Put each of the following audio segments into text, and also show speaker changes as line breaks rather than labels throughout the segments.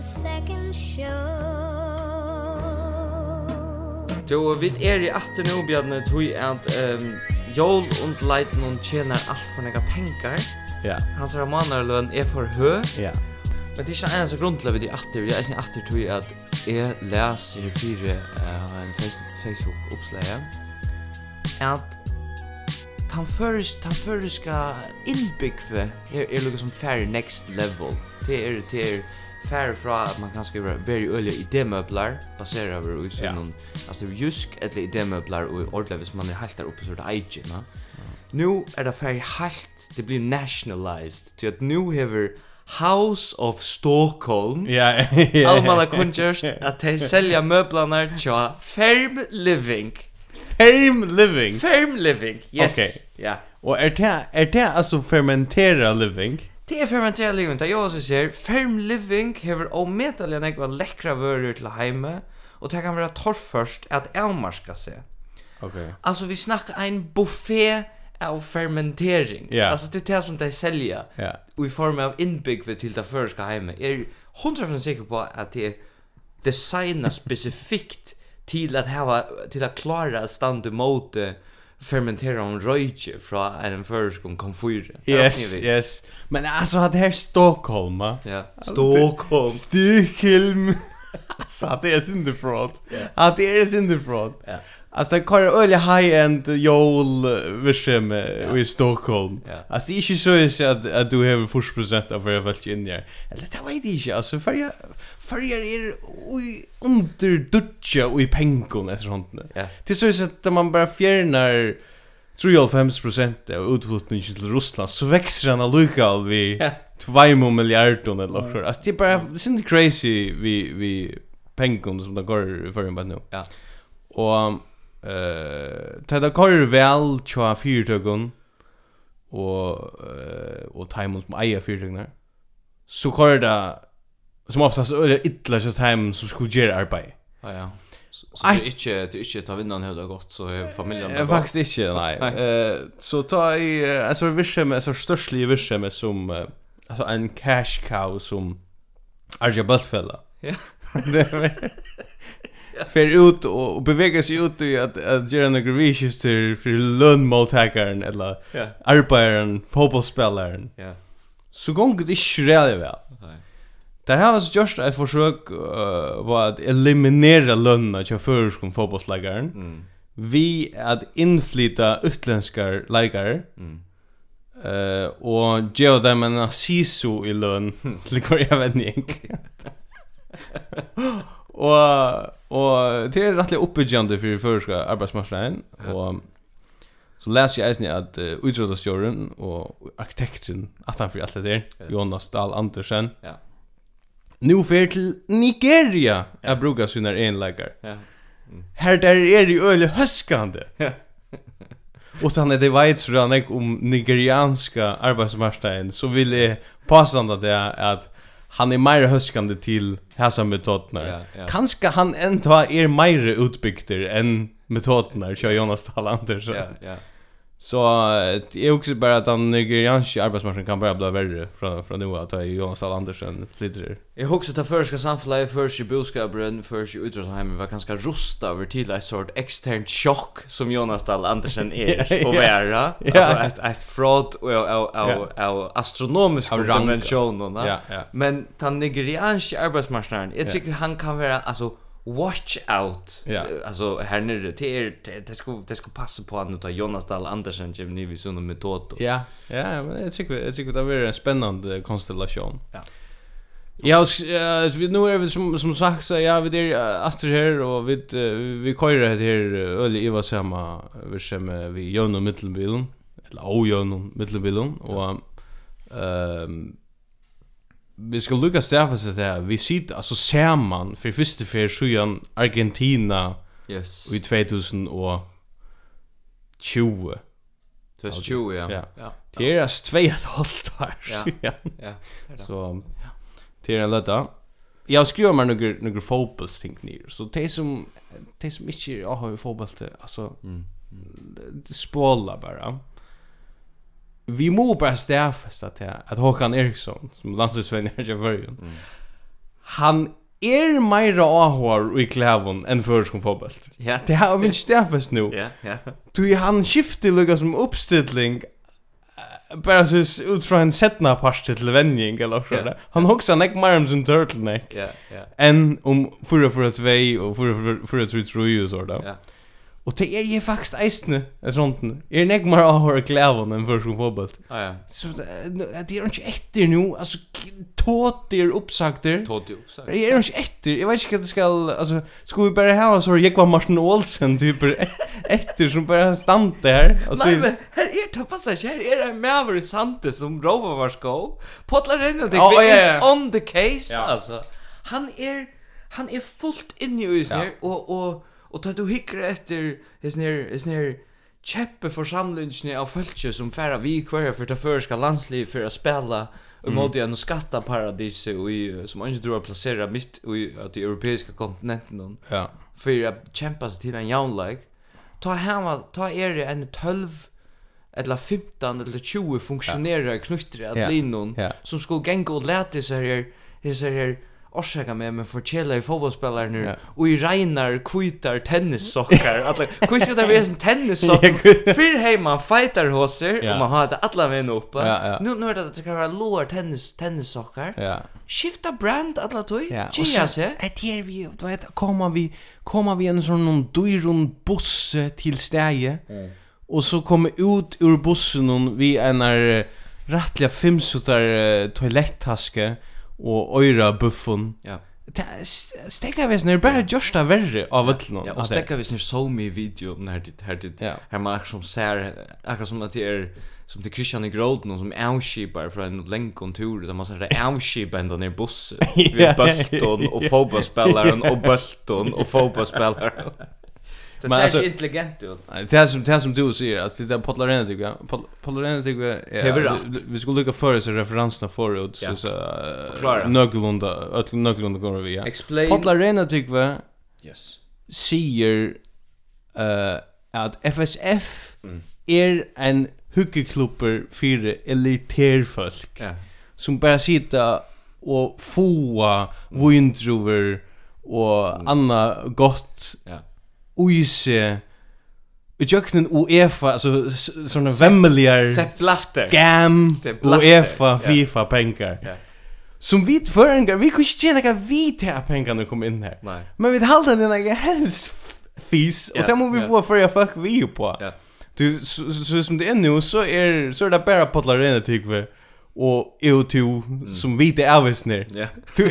second show
Du, vi er i atter nå, Bjarne, tog at um, Jól und Leitnum tjener alt for nega pengar.
Ja,
Hans Ramanarløn er for hø.
ja.
Men det er ikke en eneste grunn til at vi er atter. Vi er ikke atter tog at jeg leser fire av en Face- Facebook-oppslag at han føres han føreska innbyggve er er liksom fair next level. Det er det er fair fra at man kan skriva very early idémøblar basera over i sin
Ja.
yeah. altså er jusk eller idémøblar og ordla hvis man er helt der oppe så er det eige, na. Nu er det fair helt det blir nationalized til at nu hever House of Stockholm
Ja, ja.
Almanna kunngjørst at de selja møblanar tja Ferm Living
Ferm living.
Ferm Living, yes
Ok.
Ja
Og er det, er det altså fermentera living?
Det er fermentera living, det er jo også sier Ferm Living hever omedelige nekva lekra vörur til heime Og det kan være torrførst at avmarska seg
Ok.
Altså vi snakkar ein buffet av fermentering
Ja.
Altså det er det som de selja
Ja.
Og i form av innbyggve til det føreska heime Jeg er 100% sikker på at det er designa spesifikt til at hava, til at klara at standa móti fermentera om røyke fra en føreskum komfyre. Er
Yes, yes. Men alltså hade här Stockholm. va?
Ja. Stockholm.
Stockholm. Alltså att det är synderfråd. Att det är synderfråd.
Ja.
Alltså det kallar öliga high-end eh, jol versum i Stockholm.
Ja.
Alltså det är inte så att- att, att du har 40% av varje fall in där. Eller det vet jag inte. Alltså färger, färger är oj, underdutcha och i pengon efter sånt.
Ja.
Det är så att man bara fjärnar 3,5% av utflyttningen till Ryssland så växer den allukal vid
Ja.
2 miljarder eller något. Alltså det är bara sin crazy vi vi pengon som det går för en bara nu.
Ja.
Och eh ta det går väl tjua fyrtögon och eh och time som eier fyrtögnar. Så går det som oftast öliga illa just hem som skulle göra arbete.
Ja, ja. Så, så det er ikke, det er ikke ta vinnan hevda godt, så er familien
Eh, Faktiskt inte, nej.
Nej.
Eh så ta i eh, alltså vischem alltså störstlig vischem som eh, alltså en cash cow som Arja Bultfella.
Ja.
Fer ut och och bevegar sig ut i att att göra några researcher för lönnmottagaren eller
Ja.
arbetaren, fotbollsspelaren.
Ja.
Så gånger det inte rejält väl.
Nej.
Där har alltså just ett försök uh, var att eliminera lönnen till förskum fotbollsläggaren
Mm.
vi at innflyta utländskar leikare
Mm.
eh og geo dem en asiso i løn
Mm.
til Korea vending. og og det er rettelig oppbyggjande for førska arbeidsmarknaden og så läser jeg eisen at uh, utrådastjøren og arkitekten, at han for alt det der,
Yes.
Jonas Dahl Andersen,
Ja.
nu fer til Nigeria at bruka sina egenleikar.
Ja.
Her der er i øle høskande.
Ja.
Og þannig det veit så rann ikke om nigerianska arbeidsmarknaden, så vil jeg passande det at han er meira høskande til hæsa metodnar.
Ja, ja.
Kanska han enda er meira utbyggter enn metodnar, kjør Jonas Dahl Andersen.
er- Ja, ja.
Så eh, det er også bare at den nigerianske arbeidsmarknaden kan bare bli verre fra, fra nu at det er Jonas Dahl Andersen flytter.
Jeg husker til førska samfunnet, først i budskapen, først i utrådsheimen, var ganske rusta over til et sort eksternt sjokk som Jonas Dahl Andersen er
Ja,
og
ja.
være. Altså
Ja.
et, et fraud og, og, og, og astronomiske
Av rang,
dimensjoner.
Ja, ja.
Men den nigerianske arbeidsmarknaden, jeg tykker han kan være, altså, watch out.
Ja.
Eh, Alltså här nere det är det- det skulle det skulle passa på att nu ta Jonas Dahl Andersen som ni vi såna metod.
Ja, ja, men jag tycker jag tycker det var en spännande konstellation.
Ja.
Ja, och, eh, så vi nu är vi som som sagt så ja, er vi är Astrid här och vi eh, vi kör det här eh, öle i vad samma vi som vi gör nu mittelbilen eller o gör nu mittelbilen och ehm vi ska lucka stäffa så där. Vi sitter alltså ser man för första för sjuan Argentina
Yes.
i 2020.
2020 ja.
Ja.
Ja.
Det är alltså två och ett halvt år
Ja.
sedan.
Ja.
Så er till en lätta. Jag skriver mig några några fotbollsting ner. Så det som det som inte jag har ju fotboll till alltså
Mm.
det spålar bara. Vi er må bara stäffas att att Håkan Eriksson som landslagsvän i Norge förrjun. han er meira áhugar i klævun enn førskum fotballt.
Ja.
Det har vi stafast nu.
Ja, ja.
Tui han skifti lukka som uppstilling eh, bara så s- ut fra en setna parst til vending eller något
Ja.
sådär. Han hoxar nek mer om sin turtleneck
Ja, ja.
enn om 442 og 443 og sådär.
Ja.
Og det er jeg faktisk eisne, et sånt. Jeg er nek mer avhør klævun enn først som fotballt.
Ja, ja.
Så um eh, nu- det er jo ikke etter nu, altså tåter oppsagter.
Tåti uppsagt.
Jeg er jo ikke etter, jeg vet ikke hva det skal, altså, skal vi bare ha så jeg var Martin Olsen typer etter som bare stande her. og så-
Nei, men her er det passar ikke, her er en maver i sande som rover var sko. Potlar inn at det
Ja, ja, ja.
is on the case,
Ja.
altså. Han er, han er fullt inni i sin
Ja.
her, og, og, og tar du hikker etter his nir, his nir, kjeppe forsamlingene av fölkje som færa vi kvarja for det føreska landsliv for å spela um og måte igjen og skattaparadise og i, eh, som ikke tror å plassera mitt i at de europeiska kontinenten
Ja,
för att kämpa sig till en jaunlag. Ta hemma, ta er det en 12 eller 15 eller 20 funktionärer knutter att
Ja.
linon
Ja.
som ska gänga och läta sig här här så här orsaka med men för chilla i fotbollsspelare nu
Ja.
och i regnar kvitar tennissockar alla hur ska det vara en
Jag
tennissockar för hemma fighter hoser
Ja.
och man har det alla med uppe
Ja, ja.
nu nu är det att det ska vara låga tennis tennissockar
ja.
skifta brand alla tog
Ja, och
chia
så-
sig
Et her er vi, du vet, koma vi, koma vi en sånn noen dyrun busse til stegi, og så komme ut ur bussen noen vi en er rettelig fimsutar toilettaske og øyra buffon.
ja
Stekka er vi snur, bare gjørsta verre av vøtlun.
Ja, och stäcka vi sin somi um video när det här det
Ja.
här man akkurat som ser akkurat som att det är som det er Christian i Groden och som outshipar från en länk kontor där man säger outship ända ner bussen
Ja,
vid Bolton och
ja,
fotbollsspelaren och Bolton och fotbollsspelaren. Det
Men
ser
alltså-
så intelligent ut.
Nej, Det här som det här som du säger att det er där Paul Arena tycker jag. Paul- Paul Arena tycker jag.
Det är
Ja,
väl
vi,
rätt.
vi- vi skulle lika före så referenserna förut
Ja.
så så eh,
Förklara.
nöglunda öll nöglunda går vi. Ja.
Explain.
Paul Arena tycker jag
Yes.
säger eh att FSF är en er hyggeklubber för elitärfolk
Ja.
som bara sitta och foa vindruver och annat gott
Ja.
Uise Jöknen UEFA alltså s- såna vemmeligar
Sepp Blatter.
scam
Det är Blatter,
UEFA
ja.
FIFA pengar
Ja.
som vi förengar vi kunde tjäna några vita pengar när kom in här
Nej.
men vi halda den några helst fis
Ja,
och det må vi
ja.
få för jag fuck vi ju på
Ja.
du så, så, så som det är nu så är så är det bara potlar rena tycker vi och EU2 E
Mm.
som er vita avsnär
Ja.
Du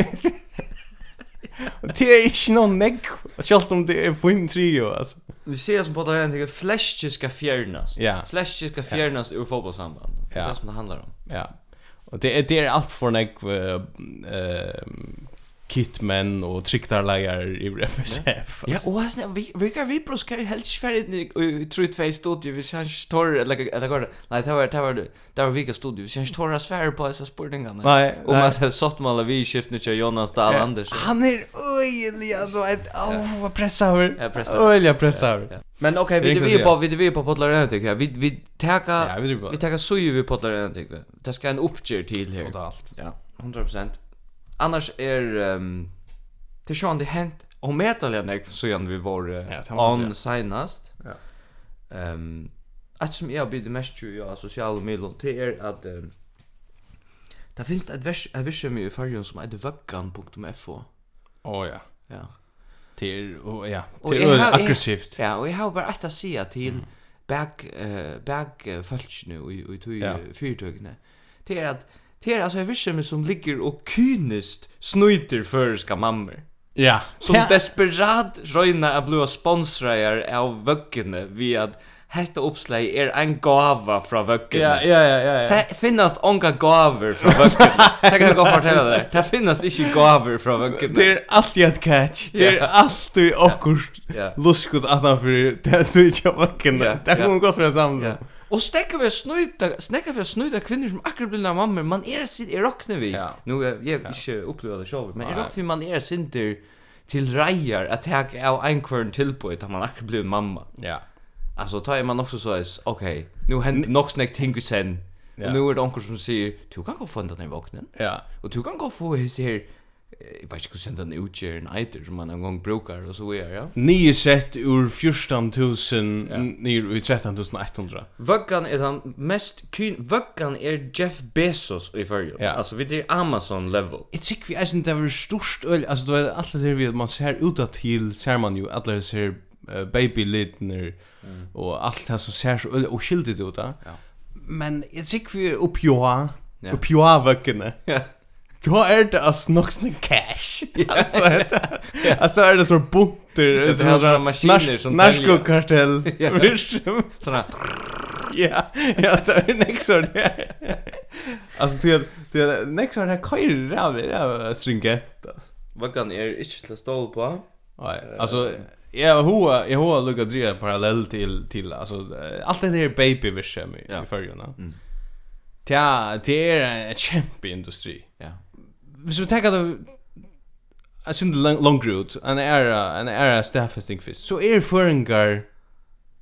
Det er ikke noen negg, selv om det er fin trio, alltså.
Vi ser som på det här tänker flash ska fjärnas.
Ja.
Flash ska fjärnas ur fotbollssamband. Det är
Ja.
det som det handlar um. om.
Ja. Og det er, det er alt for nek uh, kitmen og triktarleier i FSF.
Ja, och alltså vi vilka vi broskar helt svärdigt i trut face studio vi sen står eller eller går. Nej, det var det var det var vilka studio vi sen står svär på dessa spurningarna.
Nei,
Och man har satt med alla vi skiftet till Jonas Dahl Andersen.
Han er øyelig, altså, et, åh, oh, pressaver.
Ja, pressaver.
Øyelig pressaver.
Ja.
Ja,
Men okej,
Det er
vi
är
det vi
inklusive.
på vi det vi på Potlar Önetik här. Vi vi
ja.
tar
vi driver
vi
på.
tar så ju vi Potlar Önetik. Det ska en uppgör till här.
Totalt.
Ja, 100%. Annars är ehm till Sean det hänt om metalen jag så igen vi var
Ja, det
eh,
må man
on senast.
Ja.
Ehm att som jag blir mest ju ja sociala medier det är att ehm där finns det ett vers ett vers med i Färjön som heter vaggan.fo.
Åh, ja.
Ja.
Til, oh, ja.
Og
Til
jeg
øyelig
har- jeg-
aggressivt.
Ja, och jag har bara att säga till
Mhm.
back eh back nu och och till
Ja.
fyrtögna. Det är att det är alltså en vers som ligger och kynest snyter för ska mammor.
Ja.
Som
Ja.
desperat røyna að blua sponsrar av vöggene vi at hetta uppslag er ein gava fra vöggene.
Ja, ja, ja, ja, ja.
Det finnast onga gaver fra vöggene. Det kan jeg godt fortelle deg. Det finnast ikke gaver fra vöggene.
Det er alltid et catch. Det er
Ja.
alltid akkurat
Ja.
luskut attenfor det er du ikke har vakken.
Ja,
Det
ja.
kommer godt være sammen.
Ja. Og stekka vi snuta, snekka vi snuta kvinner som akkurat blir av mammor, man er sitt, jeg råkner vi.
Ja.
Nu, jeg, jeg ja. ikke oppleva det sjálv, men jeg
Nei.
råkner vi man er sinter til reier at jeg er av einkvörn tilbøy da man akkurat blir mamma.
Ja.
Alltså er tar man också så är okej. Nu händer nog snäck tänker sen.
Ja.
er Och nu är det onkel som säger du kan gå från den här vaknen
Ja.
och du kan gå få his här Jeg vet ikke hvordan den utgjør en eiter som man en gang brukar og så videre, ja.
Nye sett ur 14.000
Ja.
nir i 13.800.
Vøggan er den mest kyn... Vøggan er Jeff Bezos i fyrjun.
Ja.
Altså, vi er Amazon-level.
Jeg tykker vi eisen det var størst øl, altså du vet, alle det vi, man ser utad til, ser man jo, alle det ser uh, babylitner, og alt det som ser så øl, og skildet ut da.
Mm. Ja.
Men jeg tykker vi oppjåa,
Ja.
oppjåa vøkkene.
Ja.
Da er det altså nok sånn cash. Altså, da er det, altså, da er det sånn bunter.
er sånne maskiner som teljer.
Narkokartell.
Ja.
Virksom.
Sånn
Ja, ja, det er nekst sånn det. Altså, du vet, du vet, nekst sånn det køyrer rævlig, det er stringent, altså.
Vøggan er ikke til å ståle på.
Nei, altså, jeg hoa, jeg hoa lukka dria parallell til, til, altså, eh, alt det der babyvishem i,
Ja.
i fyrjuna.
Mm.
Tja, det er en kjempe industri.
Ja.
Hvis vi tenker det, jeg synes det er lang ut, en era, en era staffesting fyrst, så er føringar,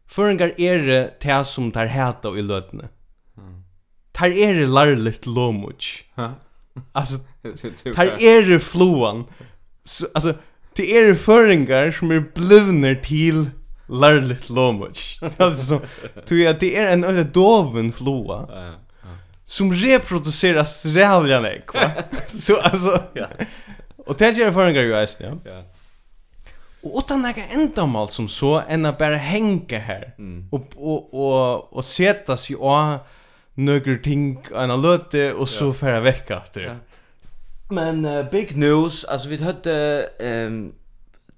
føringar er det det som tar heta i løtene. Tar er det larligt lomuch. Altså, tar er det floan. Så, altså, det er det føringar som er blivner til larligt lomuch. Altså, som, tror jeg, det er en øyne doven floa
Ah,
som reproduceras rävliga näck, va? Så alltså...
Ja.
Och det gör förringar ju eisen, ja.
Ja.
Och utan några ändamål som så än att bara hänga här
Mm.
och, och, och, och sätta sig av några ting ena löte och så ja. färra vecka efter.
Ja. Men eh, big news, alltså vi hade ehm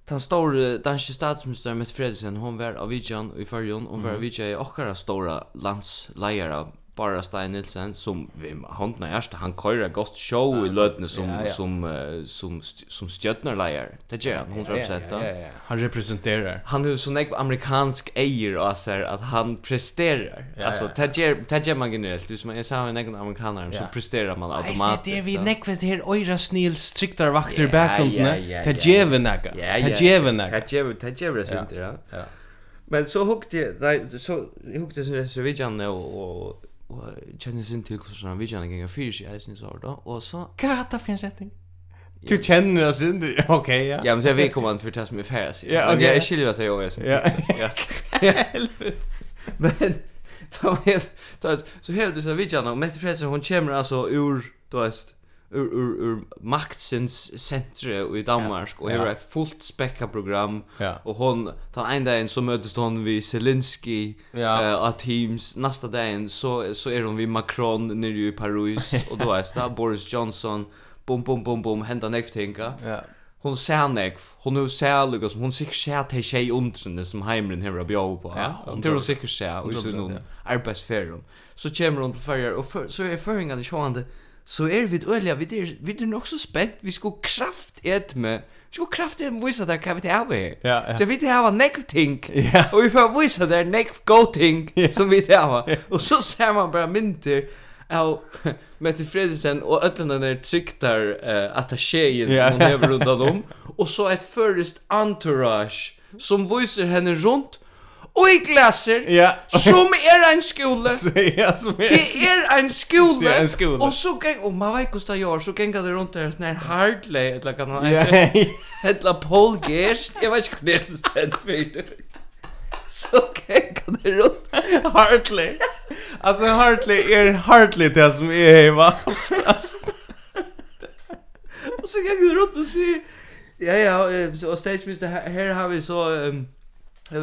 den store danske statsministeren Mette Frederiksen, hon var av Vidjan i Førjon, hon var
Mhm.
av Vidjan i okkara stora landsleiare Bara Stein Nilsen som vi håndna hjärsta, han køyrer gott show i løtene som,
Ja, ja.
som, eh, som, st som stjøtnerleier. Det gjør han, 100%.
ja. Han representerar.
Han er har så nekv amerikansk eier og ser at han presterar.
Ja,
Alltså,
ja.
det gjør- det gjør man generelt. Hvis man er sammen med en amerikaner, så
Ja.
presterar man
Nei,
automatiskt.
se, det er vi
ja.
nekvet her øyra snils triktar vakter
Ja,
i bakgrunden.
ja, ja,
Det
ja.
djeve nekka.
Ja, ja.
Det djeve nekka.
Det gjør det gjør det sint, ja.
Ja.
Men så hukte jeg, nei, så jeg hukte sin rest av vidjane og, og, og kjenner sin til hvordan vidjane ganger fyrir seg eisen i sår da, og så,
Hva er dette for en setting? Du kjenner oss indri. Ok, ja.
ja, men så er vi kommande for det som er færre sig,
Ja,
men
ok.
jeg er skiljer at jeg også er som
Ja.
ja. Men, ta med, ta med, så her du sa vidjane, og Mette Fredsen, hon kommer altså ur, du veist, ur, ur, ur maktsins sentre i Danmark, og her
Ja.
er et fullt spekka program,
Ja.
Och hon tar en dagen så möttes hon vid Zelensky
Ja.
eh, av Teams nästa dagen så så är hon vid Macron nere i Paris och då är det Boris Johnson bom bom bom bom hända next tänka.
Ja.
Hon ser nek, hon er nu ser lukka som hon sikkert ser til tjej undrene som heimren hever av bjau på.
Ja,
Ja, hon
hon
tror
tror-
hon sikkert ser, og er
tror
så
det,
noen
ja.
arbeidsferien. Så kommer hon til fyrjar, og fyr- så er føringene sjående, så er vi øyla, vi er, vi er nok så spent, vi skal kraft et med, vi skal kraft et med vise der hva vi har her.
Ja, ja.
Så vi det har nekv ting,
Ja.
og vi får vise der nekv go ting som vi det har. Og så ser man bare mynter, av Mette Fredriksen og öllene der tryktar uh, attachéen
Ja.
som hon lever rundt om og så et først entourage som viser henne rundt og i glaser
Ja.
som er en skole
Så ja, som er...
det er en skole
Det er en skole.
og så geng og man vet hvordan det gjør så geng det rundt der sånn her Hartley eller hva han
Ja,
heter Hedla Paul Gerst jeg vet ikke hva det er som stedet for det så geng det rundt
Hartley. Altså, Hartley er Hartley det som er heva.
Og så gikk det rundt og sier Ja, ja, eh, så- og statsminister, her, her har vi så um,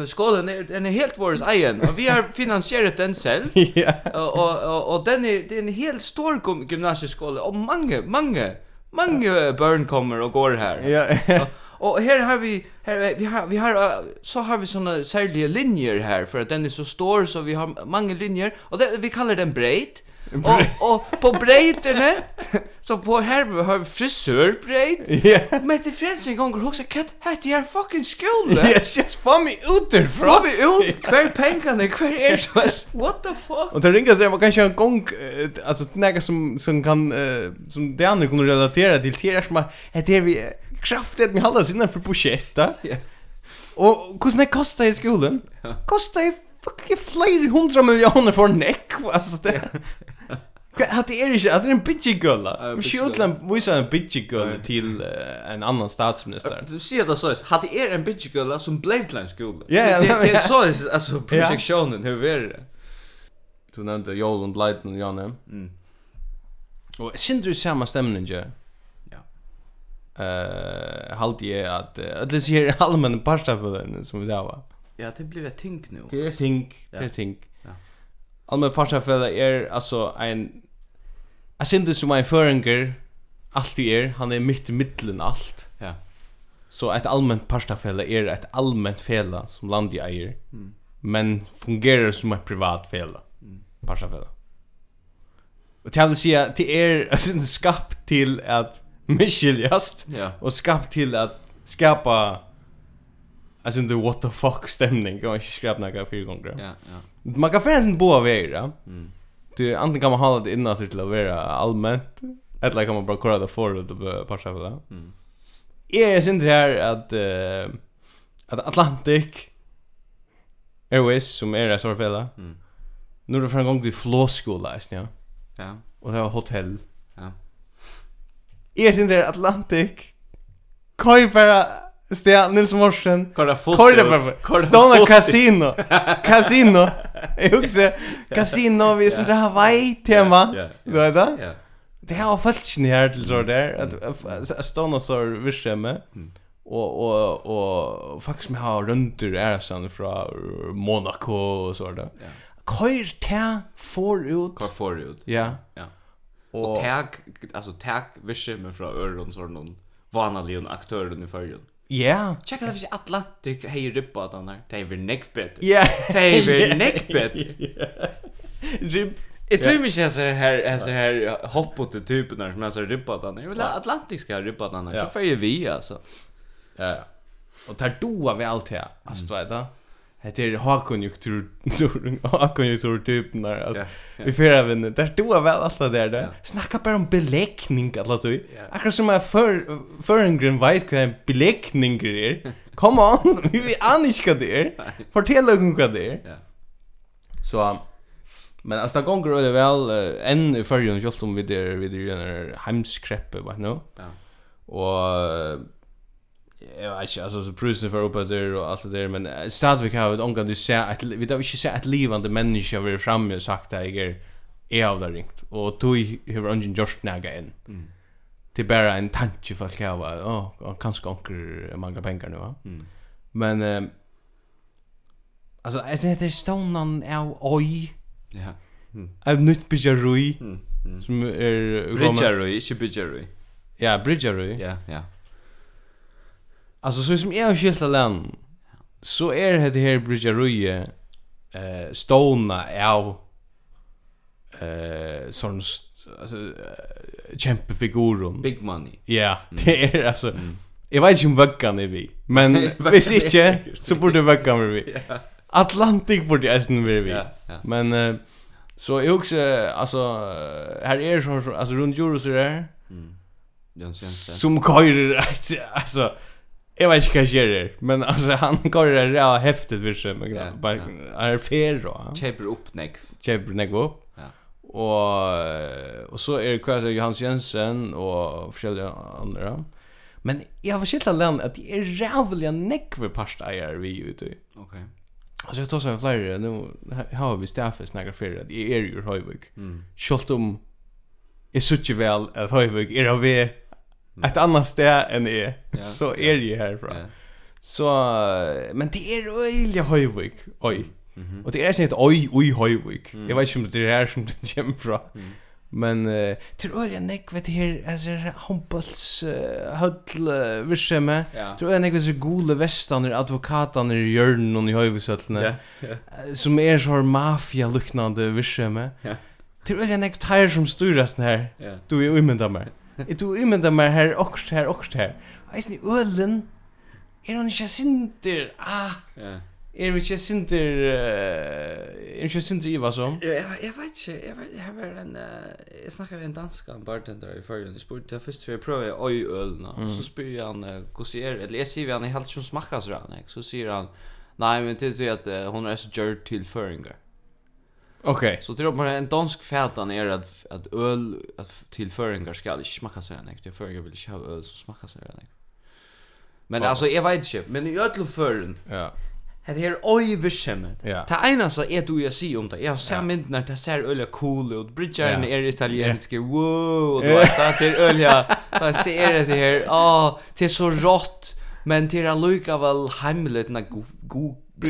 Skålen er, den er helt vår egen Og vi har finansieret den selv
Ja.
Og, og, og, og den er, det er en helt stor gym- gymnasieskole Og mange, mange Mange børn kommer og går her
Ja, ja.
Og her har vi her vi har vi har uh, så har vi såna särskilda linjer här för att den är så stor så vi har många linjer och det, vi kallar den braid. Och och på braiderna så på här har vi frisörbraid.
Ja.
Mette Fredsen gånger huxar kat hat är fucking
Ja,
skuld.
just få mig ut derfra.
Från vi ut kvar pengarna kvar är så er what the fuck.
Och det ringer sig, man kan köra en gång, eh, alltså något som, som kan, eh, som det andra kunde relatera till, det är som att, det är vi eh, kraftigt med alla sina för budgetta.
Ja.
Og hvordan det kostar i skolen? Kostar i fucking flere hundra millioner for nekk, altså det. Hatt er ikke, hatt er en bitchigølla.
Ja, en
Vi
bitchigølla.
skjøtla en vise en bitchigølla til eh, en annan statsminister.
Du ser det så. Hade er en bitch girl som blev till en skola.
Ja, ja,
det det
ja.
är så alltså projektionen hur är det?
Du nevnte Jolund Leiten og Janne.
Mm.
Og sindri samme stemning, ja.
Ja.
Uh, halde jeg at uh, Alle sier allmenn parstafelen som vi da var
Ja, det blev ett tänk nu.
Det er ting, det
Ja.
er ting
Ja.
Allmenn parstafelen er altså ein Jeg sindri som ein føringer Alltid er, han er mitt i middelen alt
Ja.
Så et allmenn parstafele er et allmenn fela som landet eier,
Mm.
men fungerer som et privat fela. Mm. Parstafele. Og til å si at det er jeg synes, skapt til at miskiljast,
Ja.
og skapt til at skapa Jeg synes det er what the fuck stemning, kan man ikke skrapa noe fire ganger.
Ja, ja.
Man kan finne en boa veier, ja.
Mm.
Du, enten kan man ha det innat til å være allment, eller kan man bare kora det forut og parsa for det.
Mm.
Jeg synes det er her at, eh, at Atlantic Airways, som er et sårfella,
Mm.
nå er det for en gang til flåskola, jeg synes, ja.
Ja.
Og det var hotell.
Ja.
Jeg synes det her Atlantic, koi bare sted, Nils Morsen,
Kolla fotot.
Korda bara.
Kolla
Stona
fotot.
casino. Casino. Jag också casino vi sen där Hawaii tema.
Ja,
Du vet det?
Ja.
Det här har fallit ner här till så där
Mm.
att- att att Stona så visshemme. Och och och faktiskt med har runt ur är sen från Monaco och så där.
Ja.
Kör te får ut.
Kvar förut.
Ja.
Ja.
Och
Och tag alltså tag visse men från öron sån någon vanlig aktör i förrjun.
ja.
Checka det för Atlantic hej rippa den här. Det är väl neck better.
Ja.
Det är väl neck better.
Jip.
Jag tror mig att det här är så här hoppåt i typen där som är så rippat han. Jag vill ha atlantiska rippat han.
Ja.
Så följer vi alltså.
Ja, ja. Og tar doa vi alt her,
Mm.
altså, du vet da. Det er hakonjunktur, hakonjunktur-typen der, altså.
Ja, ja.
Vi fyrir av henne, der doa vi alt det der, da.
Ja.
Snakka bare om belegning, alle du.
Ja.
Akkurat som jeg førengren veit hva en belegning er. Come on, vi vi aner ikke hva det er. Fortell dere hva det er.
Ja.
Så, men altså, det gonger veldig vel, eh, enn i fyrir, selv om vi er, vi er i denne heimskreppe, vet du nå.
Ja.
Og eh, Jeg vet ikke, altså så prusene for oppe der og alt det der, men eh, stadigvæk har vi et omgang du ser, at, vi har ikke sett et livande menneske har vært fremme og sagt at jeg er, jeg har det ringt, og du har ungen gjort nægge inn.
Mm.
Det er bare en tanke for at jeg var, åh, oh, kanskje onker mangler penger nå, ja.
Mm.
Men, eh, altså, jeg synes det er stånden av oi,
Ja.
av nytt byggerøy,
Mm. Mm.
som er...
Bridgerøy, ikke Bridgerøy.
Ja, bridgerøy.
Ja, ja.
Alltså så som jag har skilt land så er är det här bridgeruje eh stona av eh sån st- alltså eh, kämpefiguren.
Big Mm. money.
Ja, det är alltså Jag vet inte om veckan är vi, men hvis
är
inte
säkert.
så borde veckan vara vi. Atlantic borde ästen vara vi.
Ja, ja.
Men eh, så jag också alltså här är det sån alltså runt jorden så är det
Mm. Den senaste.
som køyrer at, altså, jeg vet ikke hva skjer her, men altså, han køyrer ræva heftet for seg, men
Ja,
bare, han er fer og han
Kjøper opp neck.
kjøper nekva opp,
Ja.
og, og så er det hva sier Johans Jensen og forskjellige andre, men jeg har skilt alene at de er rævelige nekva parsteier vi er ute i.
Okej.
Altså, jeg tar seg flere, nå her har vi stafet snakker fyrir at jeg er jo Høyvig,
Mm.
Sjølt om jeg suttje vel at Høyvøk er av ved et annet sted enn jeg,
Mm. Ja,
så er jeg herfra.
Ja.
Så, men det er øyelig Høyvøk, oi.
Mhm. Mm.
Og det er sånn et oi, oi Høyvøk. Jeg vet ikke om det er her som det kommer fra. Men eh, til øyelig nekk, vet du her, altså, håndbolls, uh, hødl, uh, virksomhet.
Ja.
Tror jag några så gode vestaner advokaterna i hjørnen och i höjvsötterna.
Ja, ja.
Som är så er mafia liknande vischeme.
Ja.
Tror jag några tire som styras här.
Ja.
Du är ymynda mig. Är du ymynda mig här och här och här. Vet ni ölen? Är er hon inte sinter? Ah,
Ja.
är vi inte sinter? eh, Är vi inte sinter i vad som?
Ja, Jeg, jeg vet ikke, jeg vet, jeg var en, eh, jeg snakket med en dansk en bartender i førjen, jeg spurte, jeg først for jeg prøver øy ølene, mm. så spyr jeg han, eh, hvordan er det, eller jeg sier vi han, jeg helt ikke smakker er så rann, så sier han, nei, men til å si at eh, hun er så gjør til føringer.
Okej.
Så det är bara en dansk fätan är att att öl att tillföringar ska det smaka så här Det förringar vill inte ha öl så smaka så här Men
Ja.
alltså jag vet inte, men i öll förrn
Ja.
Det här oj virsemet.
Ja.
Det ena så är du jag ser om det. Jag ser mynd när det ser öliga cool ut. Bridgern
Ja.
är italiensk. Wow, och då är det att det är öliga. Fast det är det här. Ja, det är så rått. Men det är lika väl hemligt när god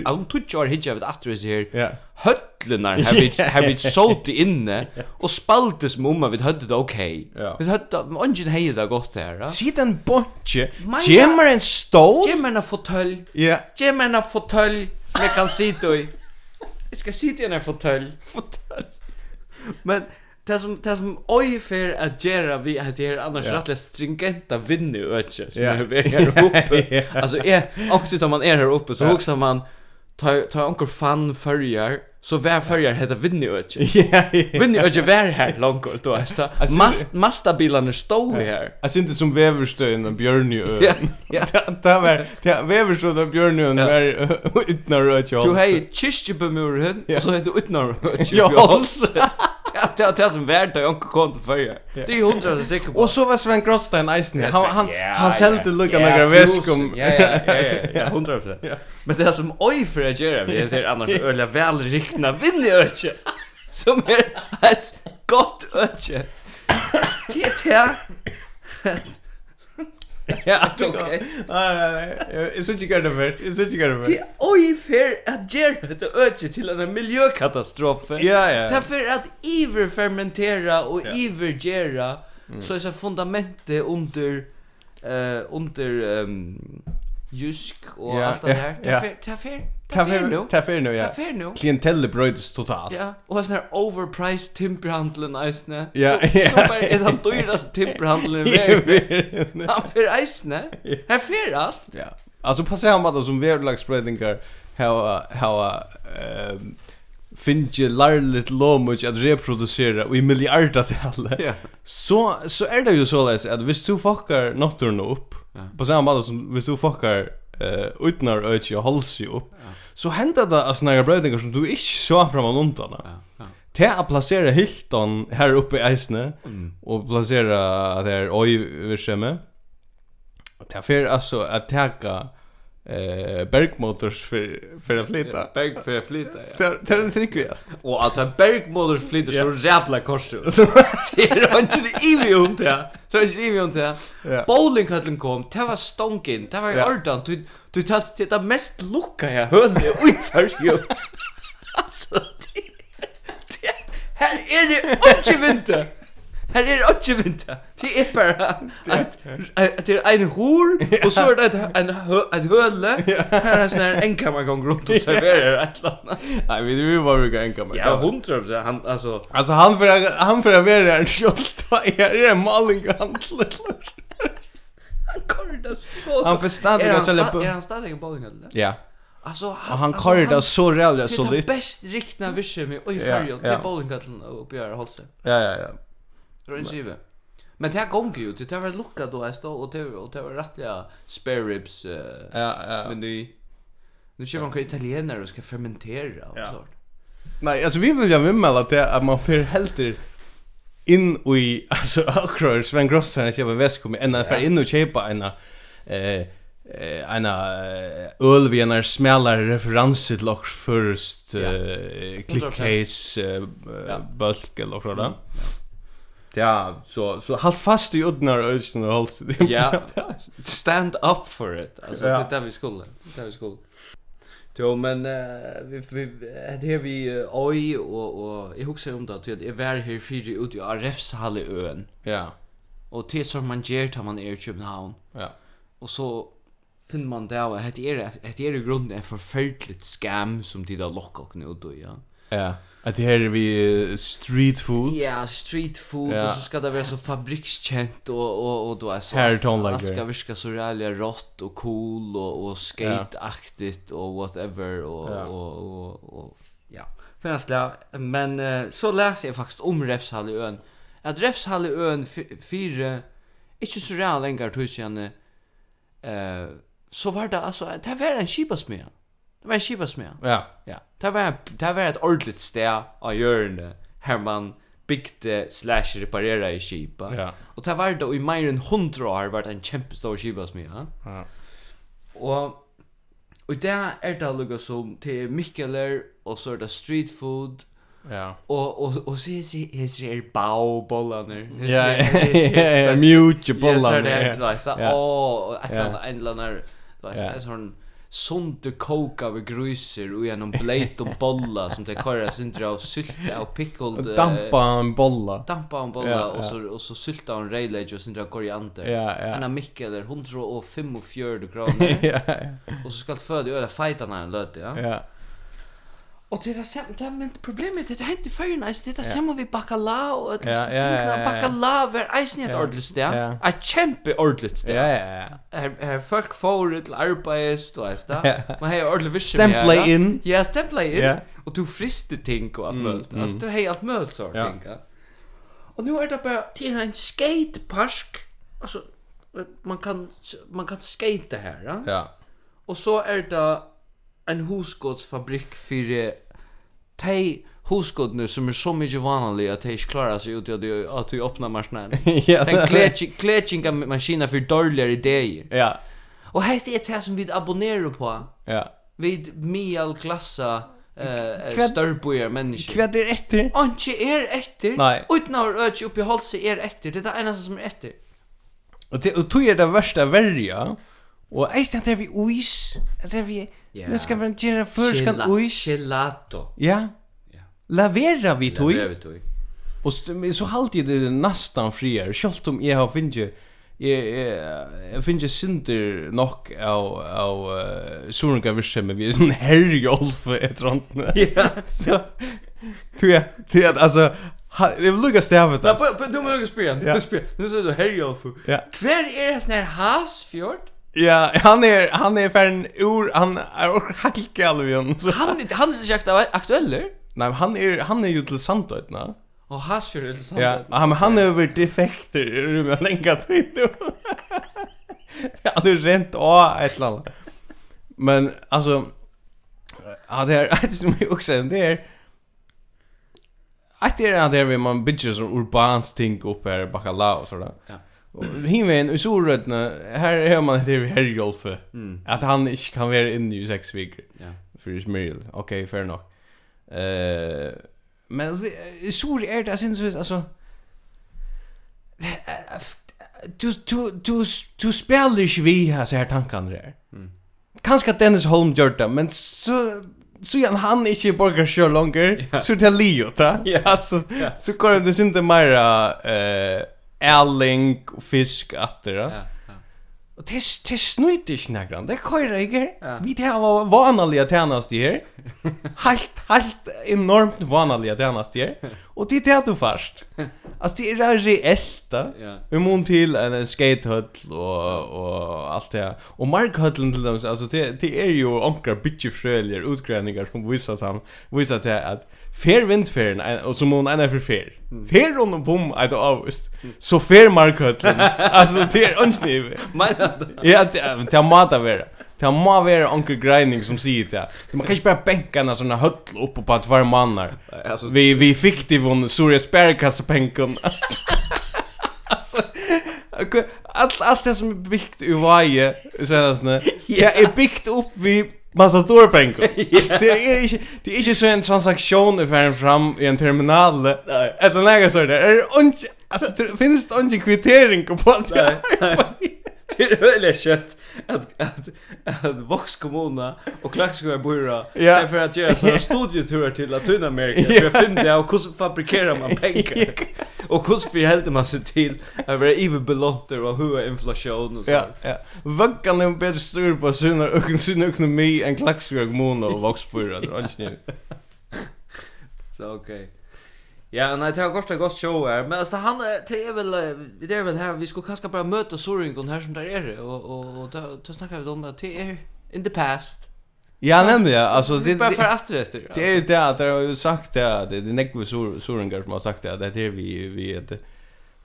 Om tutsch har hittat vid att det här
Ja.
höllnar har vi har vi sålt det inne um och spaltes mumma vid hade det okej.
Ja.
Vi hade ungen hejde det gott där.
Sit en bonche.
Maja.
Gemmer en stol.
Ge mig en fåtölj.
Ja.
Ge mig en fåtölj som jag kan sitta i. Jag ska sitta i en fåtölj. Fåtölj. Men det som det som oj för att göra vi att det är er annars
Ja.
yeah. rätt stringenta vinner öche som
Ja.
yeah. är här uppe.
Ja.
er Alltså är också när man är er här uppe så
Ja.
också man tar tar onkel fan förjar så vär förjar heter vinner öche.
Ja. ja.
Vinner öche vär här långt då alltså.
Alltså-
Mast mastabilarna står här.
Jag synte som väverstön och björnjö.
Ja. Ja.
Det var det väverstön och björnjö
Ja.
var utnar och jag.
Du hei kyrkjebemurren,
Ja.
og så hei du utnar
Ja,
kyrkjebjolse. Det er det som vært da Jonko kom til førje. Det er jeg hundra så sikker på.
Och så var Sven Grostein Eisen.
Ja,
Han
Sven-
han
ja,
han
ja.
sålde lucka
Ja,
några
tusen.
väskum.
Ja, ja, ja, ja, ja, hundra
Ja.
Men det er som oi for jeg gjør, vi er annars øyla velrikna vinneøkje, som er et godt økje. Det er det. Ja,
er
ok.
Nej nej nej. Jag såg inte gärna för. Jag såg inte gärna
Det
för.
er oi for at gjør dette økje til en miljøkatastrofe.
Ja ja.
Därför att iver fermentera och iver gera
Mm.
så är så fundamentet under eh under um, jusk och
Ja,
allt det
ja,
här.
ja.
Därför därför därför nu.
Taffer Taffer nu ja.
Därför nu.
Klientelle bröts totalt.
Ja, och en sån här overpriced timberhandeln eisne.
Ja,
så,
ja.
så bara er är den dyraste timberhandeln
er-
i världen. Han för eisne. Här för allt.
Ja. Alltså på samma sätt som väderlagsspredningar how how ehm finge larligt lomuch att reproducera och i miljardtal.
Ja.
Så så är det ju så läs att visst du fuckar naturen upp på samma sätt som visst du fuckar eh utnar öch och halsi upp. Så händer det att såna brödingar som du inte så fram och undan.
ja.
Te att placera Hilton här uppe i Eisne och placera där oj överskämme. Och det er för alltså att täcka eh Bergmotors för för att flytta.
Berg för flytta. Ja.
Det det är en tryckvis.
Och att en bergmoder flyter
Ja.
så jävla korset. Det er ikke det ivi om det. Så er ikke ivi om det.
Ja.
Bowlinghallen kom, det var stonken, det var i
Ja.
ordan. Du, du tatt det er mest lukka jeg hønne i fyrju. Altså, det, det, her er det ikke vinter. Her er det ikke vinter. Det er bare at, at det er en hår, og så er det et, en, hø- et høle. Her er en sånn her enkammergång rundt og serverer et eller annet.
Nej, vi vi var ju en kamera.
Ja, hundra, han, altså...
Alltså han för han för att vara en sköld. Här är en maling handlar.
Han kör det så...
Han förstår inte
Er
att
han
sälja
sta-
på.
Är han stadig i bowlinghallen?
Ja.
Alltså
Och han kör det så
han-
rejält så
Det är
lite.
den bäst riktna visse med oj
Ja,
färjan
ja.
till bowlinghallen och uppe här hålls.
Ja ja ja.
Det är inte givet. Men det här gånger ju, det här var lucka då jag stod och det var, och det var rättliga spare ribs eh,
Ja ja.
meny. Nu kör man kvar italienare och ska fermentera och
Ja.
sånt.
Nej, alltså vi vill ju anmäla till att man för helter in och i alltså akrar Sven er Grosstein att köpa väsk kommer ända för in och köpa en eh eh en öl vi när smäller referenser till också först eh clickcase eh,
Ja.
bulk eller något sådant. Mm. Ja, så så håll fast i udnar ösen och håll
Ja. Stand up for it. Alltså
Ja.
det där vi skulle. Det där vi skulle. Jo, men eh, vi vi det här vi eh, oj och och jag huxar om det att jag var här för ut i Refshalleön.
Ja.
Och det som man gör tar man är i Köpenhamn.
Ja.
Och så finner man det och det är det är i grunden en förfärligt scam som de där lockar och nu då ja.
Ja. Att det här är vi eh, street food.
Ja, street food
Ja.
och så ska det vara så fabrikskänt och och och då är så
Hair
allt-
tone
allt
like
ska
det.
viska så jävla rått och cool och och skateaktigt och whatever och
Ja.
och och och ja. Färsla, men eh, så läser jag faktiskt om Refshalleön. Att Refshalleön 4 inte så jävla länge tror jag eh så var det alltså det var en skipasmed. Det var en skipasmed.
Ja.
Ja. Det var det var ett ordentligt stä av hjørne her man bygde slash reparera i skipa.
Ja.
Og det var det og i meir enn 100 år var det en kjempestor skipasmed. Ja.
Ja.
Og Og det er det lukka som til Mikkeler, og så er det street food,
Ja.
og, og, og så er det her bau-bollaner.
Ja. Ja, mute
Ja, så
bollar.
er det her, du vet,
Ja.
åh, et eller
Ja.
annet, en eller annet, du vet,
Ja.
en sånn sunt koka ved gruser og gjennom bleit og bolla som det kører sindra av sylta og pickled eh,
Dampa en bolla.
dampa og bolla
Ja,
og
ja.
så og så sylta og reilegg og sindra av koriander.
Ja, ja.
Anna Mikkel er 145 kroner
Ja, ja.
og så skal føde i øyla feitarna en løte, ja.
Ja.
Og det er det samme, det er, men problemet er det hent i fyrrene, det er det samme vi bakalau, og det
Ja, ja, ja, ja, ja.
bakalau er eisen i et
Ja.
ordentlig sted,
Ja.
et kjempe ordentlig sted.
Ja, ja, ja.
Her, her folk får til arbeids, du vet det,
Ja.
man har ordentlig visst
Stempla inn.
Ja, stempla inn,
Ja. Mm,
og du frister ting og alt mulig, altså du har alt mulig sånn
Ja.
ting, ja. Og nu er det bare, det er en skatepark, altså, man kan, man kan skate her, ja.
Ja.
Og så er det en husgodsfabrik fyrir tei husgodene som er så mykje vanlig at tei ikke klarer seg ut i at de- at de åpner maskinen.
Ja. er
Den kletsinga maskina fyrir dårligere ideer.
Ja.
Og hette er det som vi abonnerer på.
Ja.
Vi mial glassa uh,
Hva-
størrbojer mennesker.
Kvad er etter?
Anki er etter.
Nei.
Utnaur øki oppi holse er etter. Det er det eneste som er etter.
Og det og tog er det verste verja. Og eist at det er vi uis. At det er vi
Ja.
Nu ska vi göra förskan
Gela-
uis.
Gelato.
Ja. Lavera vi tog.
Lever tui.
Och så halt det är nästan frier. Skolt om jag har finge jag jag finge synder nok av av uh, Sorenka virsem vi är sån herjolf ett rant. Ja. Så du ja, det är alltså ha- det lukas det här
Ja,
så.
på- på- du må jo spyrja, du
Ja.
må spyrja. Nu ser du Herjolfu.
Ja.
Hver er hans nær Hasfjord?
Ja, er, han är han är färn ur han är hackalvion så.
Han, han er ikke aktu- aktuell, er?
Nej, men han är han är ju till Sandötna.
Og Hasfjord er sant.
Ja, ja, men han är över defekter i rummet länka tid nu. Han är rent av ett eller annat. Men alltså ja, det är ett som jag också det är att det är att det är vid man bygger så urbant ting upp här i Bacala och sådär.
Ja.
Och hinvägen i Sorödna, här hör man att det är Herjolfe. Att han inte kan vara inne i sex veckor
Mm, Ja.
för Ismail. Okej, fair nog. Eh men eh, sur är det alltså så alltså du du du du spelar ju vi här så här tankarna där. Kanske Dennis Holm gjort det, men så så igen han är inte borgar så longer så det är Leo ta. Ja så så går det inte mer eh Erling fisk att det.
Ja. ja.
Og det det snøyt ikke nærgrann, det køyrer ikke.
Ja.
Vi det var vanlige tjeneste her. Helt, helt enormt vanlige tjeneste her. Og det er det du først. Altså, det er reelt da.
Ja.
Vi må til en skatehøtl og, og alt det her. Og markhøtlen til dem, altså, det, det er jo omkrar bitchefrølier, utgreininger som viser at han, viser til at Fer vindferen, og som hon ena for fer.
Mm.
Fer um hon og bom eit avvist. Så fer markhøtlen. altså, det er ønsknivet.
Meina det?
Ja, det men det må det være. Det må være onkel grinding som sier det. Man kan ikke bare benka en sånn høll oppe på tvær mannar.
Altså,
Vi, vi fikk det von Surya Sperrkassepenken. Alltså, ok, allt, allt det som er är byggt ur vaje, senast nu, det er är byggt upp vid Massadorpenken. Alltså, det är inte, det är inte så en transaktion i färden fram i en terminal. Eller något sådär. Är det inte, alltså, det finns det inte kvittering på det? här?
det er veldig kjøtt at, at, at Vox kommuna og Klaksgård byrra
Ja.
er for at gjøre sånne studieturer til Latinamerika for å finne det og hvordan fabrikerer man penger og hvordan forhelder man seg til å være iverbelånter og hva er inflasjon og
Ja,
sånt.
ja. Vaggan er betur styr på sunnar og sunnar økonomi enn Klaksvík kommuna og Voksbøyra, det er ikke nivå.
Så okej. Ja, nej, det har gått ett gott show här. Men alltså, han är, det är väl, eh, det är väl här, vi skulle kanske bara möta Soringon här som där är det. Och, och, och då, då snackar vi om att det är in the past.
Ja, nemlig, ja, altså,
Det
det,
är bara för
det,
att det efter.
det er jo det at det har jo sagt det, at det er nekve soringar som har sagt det, at det er vi, vi, at,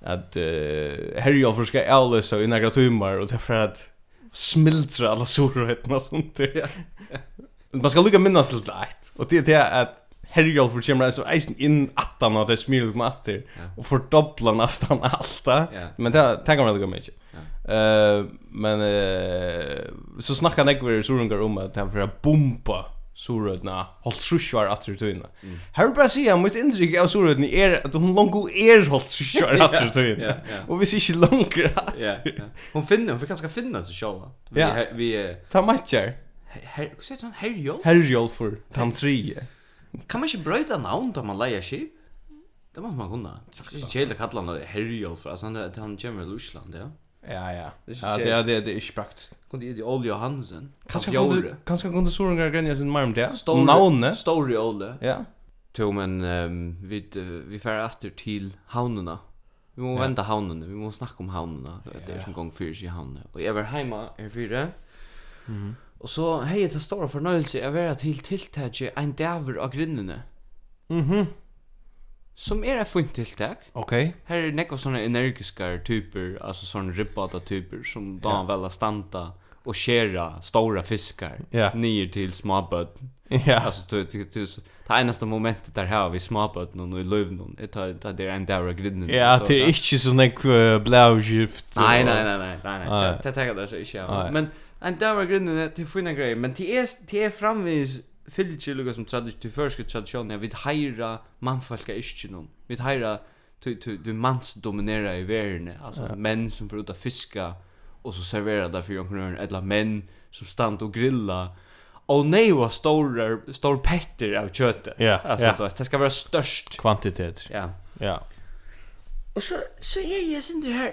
at uh, Herjolfur skal avløsa i nekra tumar, og det er for at smiltra alla sorrøytna og sånt der. Man skal lukka minnast til dætt Og det er det at Herjolfur kommer altså eisen inn attan og det smyr lukka atter Og fordobla nastan alt
Ja.
det Men det tenker man lukka mykje Eh, Men eh, så snakka nekver surungar om um at han fyrir bomba surødna holdt trusjvar atter i tøyna Her vil jeg bare si at mitt inntrykk av surødni er at hun longu er holdt trusjvar atter i
ja,
tøyna
ja.
Og hvis ikke langer atter
Ja, ja. Hon finner, hon får ganska finna sig själva. Vi,
Ja.
her- vi, eh,
Ta matcher
her, hur säger han? Herjol?
Herjolfur, tan tredje
Kan man inte bröjta namn då man lejer sig? Det måste man kunna. Det er är inte helt att kalla honom Herjol för, alltså han, är- han kommer från Ryssland, ja.
Ja, ja.
Det er
Ja,
ikke
det er det det er ikke praktisk.
Kunde ge det Ole Johansen.
Kanskje
Av
kunde
Fjore.
kanskje kunde Sorungar grenja sin marm det.
Store-
Navne.
Store Ole.
Ja.
Jo, men um, vi, vi fer atter til havnene. Vi må
Ja.
venda havnene, vi må snakke om havnene. Det um er som gong fyrir sig havnene. Og jeg var heima her fyra.
Mhm.
Og så hei jeg til stora fornøyelse jeg vera til tiltaket ein daver av grinnene.
Mhm.
Som er et fint tiltak.
Okay.
Her er nekva sånne energiskar typer, altså sånne ribbata typer, som da han vel standa og skjera stora fiskar
Ja.
nyer til småbøtt.
Ja.
Alltså du du du det enaste momentet där här vi småpat någon och i Lövnon. Det tar det där en där grinden.
Ja, det er ikke sånn ek blau skift.
Nej nej nej nej nej
Nej.
nej. Det tar det er så inte.
Nej.
jag. Men en där grinden er det är fina grejer, men det är det är er framvis fyllt ju liksom tradition till första traditionen vid hyra manfolka är någon. Vid hyra du du du mans dominerar i världen. Alltså män som får ut att fiska och så serverar där för jonkrön eller män som stannar och grilla. Och nej vad stora stor petter av köttet.
Ja,
Alltså
ja.
då, det ska vara störst.
Kvantitet.
Ja.
Ja.
Och så så är jag sen det här.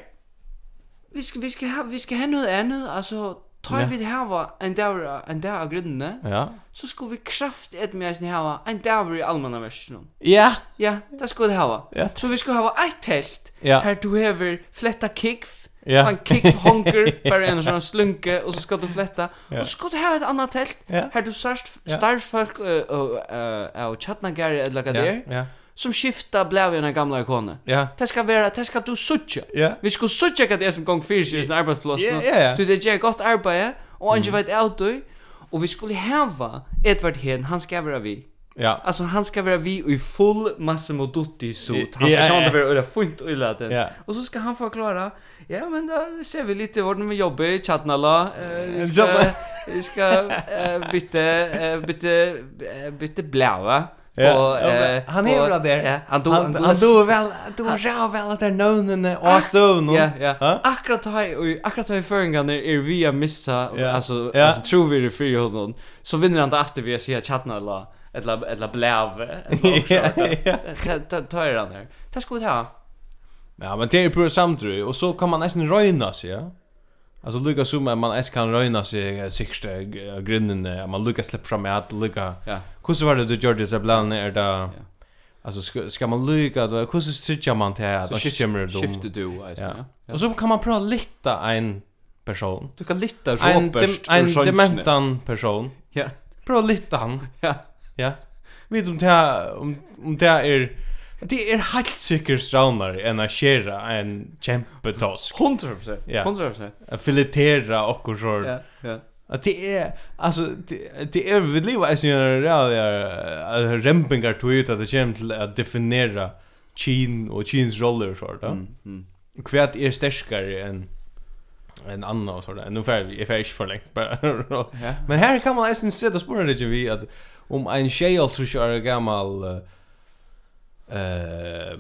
Vi ska vi ska ha vi ska ha något annat alltså tar
Ja.
vi det här var en där en där av grunderna
Ja.
så ska vi kraft ett med sen här en där i allmänna versionen.
Ja.
Ja, det ska det ha.
Ja.
Så vi ska ha ett tält.
Ja.
Här du behöver flätta kick
Ja.
Han kick honker bara en sån slunke och så ska du flätta
Ja.
och så ska du ha ett annat tält.
Ja.
Här du särst
Ja.
starfolk och eh och chatnagare eller vad det är
Ja.
som skifta blævina gamla ikone.
Ja.
Det ska vara, det ska du sucha.
Ja.
Vi ska sucha vad det är som gång fyra sig i sin arbetsplats.
Ja, ja, ja.
Du, det gör gott arbete, och inte vet av dig. Och vi skulle häva Edvard Hen, han ska vara vi.
Ja.
Alltså han ska vara vi i full Massimo Dutti suit. Han ska
Ja, ja,
yeah, sjönda
ja.
vara öra fint och öra den.
Ja.
Och så ska han förklara, ja men då ser vi lite hur vi jobbar i Chatnala. Eh, vi ska,
Chatnala.
vi ska eh, byta, eh, byta, eh, byta bläva.
Ja,
på,
ja, men
eh,
han
på-
hever det der.
Ja, han, do,
Han han Ah,
do,
do vel, du rau vel at der nøvnene og støvn.
Ja, ja.
Ha?
Akkurat här och akkurat här förringarna är vi att er missa
Ja.
alltså
Ja.
alltså tror vi det för honom. Så vinner han att vi ser chatna eller eller eller bläve.
Ja,
Ta ta er han där. Det ska vi ta.
Ja, men det är pura samtrøy, og så kan man nästan röjna sig, ja. Alltså lukka som att man nästan kan röjna sig eh, sista eh, grunden, eh, man lukka släppa fram i att lukka.
Ja.
Hur så var det du gjorde så ibland är det
Ja.
Alltså ska, ska man lukka då hur så stritcha man till att det kommer
skifter
dom.
du alltså.
Ja.
Ja.
Och så kan man prova litta en person.
Du kan litta
En dem,
Robert
en dementan person.
Ja.
Prova litta han.
Ja.
Ja. Vet om det här- om om er- det här är Det är helt säkert straunare än att köra en kämpetosk
100%.
Ja.
100%.
att filetera och och så.
Ja. Ja.
Att det är alltså det, det är er- vi lever i en real eh, rempingar tweet att det kommer till att definiera Chin och Chins roller så där. Mm.
Mm.
Kvärt är starkare än en annan och så där. Nu får jag får inte för länge bara.
Ja.
Men här kan man nästan sätta spåren lite vi att om en tjej alltså kör gammal eh, eh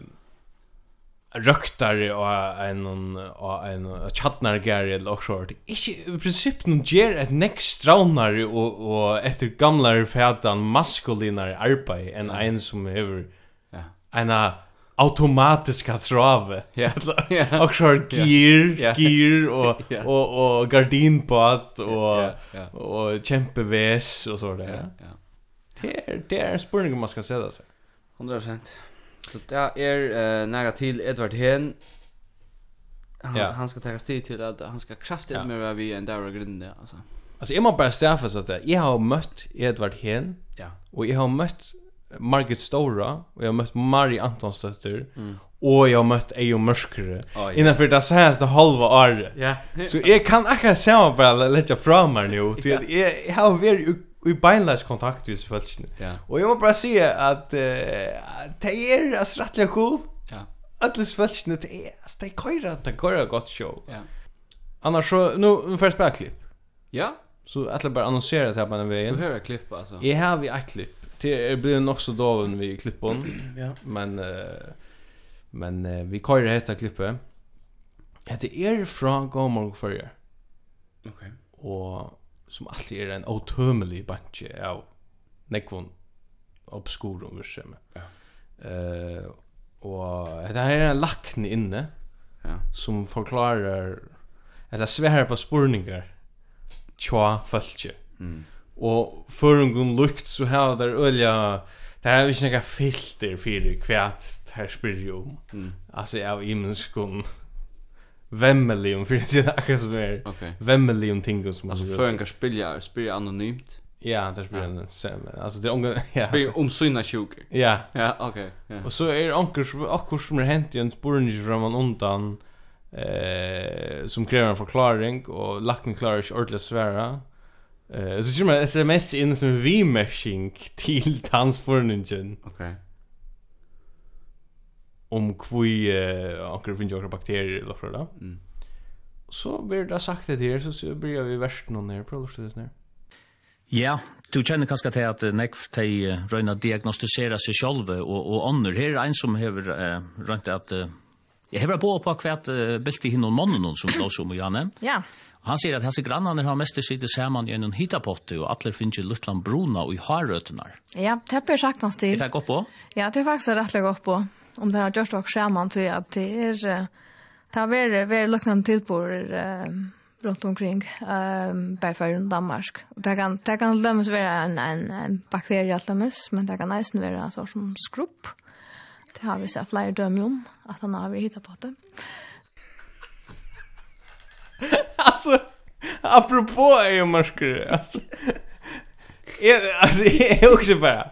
röktare och en och en chatnargare eller och short. Inte i princip någon ger ett next straunare och och efter gamla fätan maskulinare arbete än
Mm.
en som över
Ja.
ena automatiska trave.
Ja. Ja.
Och så gear,
Ja.
gear och
Ja.
och och gardinpott och
Ja. Ja.
och kämpeväs och så där.
Ja.
Det är det är en spurning om man ska säga det så.
100%. Så det er uh, næga til Edvard Hen. Han,
Ja.
han skal taka stig til at han skal kraftigt
Ja.
ja. mer vi enn der var grunde, altså.
Alltså är man bara stäffa så att jag har mött Edvard Hen
Ja.
och jag har mött Margit Stora och jag har mött Mari Antonsdotter och jag har mött Ejo Mörskre
Oj.
innanför det senaste halva året.
Ja.
Så jag kan akkurat samma bara lägga fram här nu. Till att jag, jag har varit i
i beinleis kontakt við fólkini.
Ja.
Og jeg må bara säga at
eh,
uh, det er altså rettelig cool.
Ja.
Alles fólkini, det er, altså, det er køyra, det er køyra gott show.
Ja.
Annars så, nu får jag spela klipp.
Ja,
Så jag bara annonsera det här på
du
den vägen.
hör jag klippa alltså.
Jag har vi ett klipp. Det är- blir nog så doven vid klippon.
Ja.
Men, eh, men eh, vi kör det här klippet. er Det är från Gåmorg förrjär.
Okej.
og som alltid er en åtømelig bantje av nekvon obskurum virkjemme.
Ja.
Eh, og det her er en lakne inne
Ja.
som forklarar eller sverar på spurningar tja fölkje.
Mm.
Og førungum lukt så her der ølja Det her er ikke noe filter for hva det her spyr jo om.
Mm.
um. Altså, jeg har imenskon vemmelig om, for jeg sier akkurat som er
Okej.
vemmelig om ting som
Alltså
som-
för en kan spilla spilla anonymt.
er Ja, det
Ja.
spyr en sem. Alltså det är ongen ja.
Spilla om sina sjuker.
Ja.
Ja, okej. Ja.
Och så er är det onkel som akkur som är hänt i en spurning från man undan eh som kräver en förklaring och lacken klarar inte ordentligt svära. Eh så kommer ett SMS in som en vimeshing till tanspurningen
Okej.
om kvui um eh onkel finns några bakterier eller så där.
Mm.
Så blir det sagt det här så så blir vi värst någon här på det här.
Ja, du kjenner kanskje til at eh, nekv de eh, røyna diagnostisera seg sjálve og, og ånder. Her er ein som hever eh, røynt at... Eh, jeg hever på på hva eh, bilt i hinnom mannen som lås om og Janne.
Ja.
Og han sier at hans grannene har mest sitte saman i en hitapotte og atler finnes i Lutland Bruna og i harrøtnar.
Ja, det blir sagt
Er
til.
det godt på?
Ja, det er faktisk rettelig godt på. Om det um har gjort noe skjermen til at det er... eh, Det har vært, vært lukkende tilbord eh, rundt omkring, eh, bare for rundt Danmark. Det kan, det kan lømmes være en, en, en bakterie alt lømmes, men det kan eisen være en sort som skrupp. Det har vi sett flere dømme om, at han har vært hittet på det.
Alltså, apropå är ju mörskare, alltså. Jag, alltså, jag är också bara...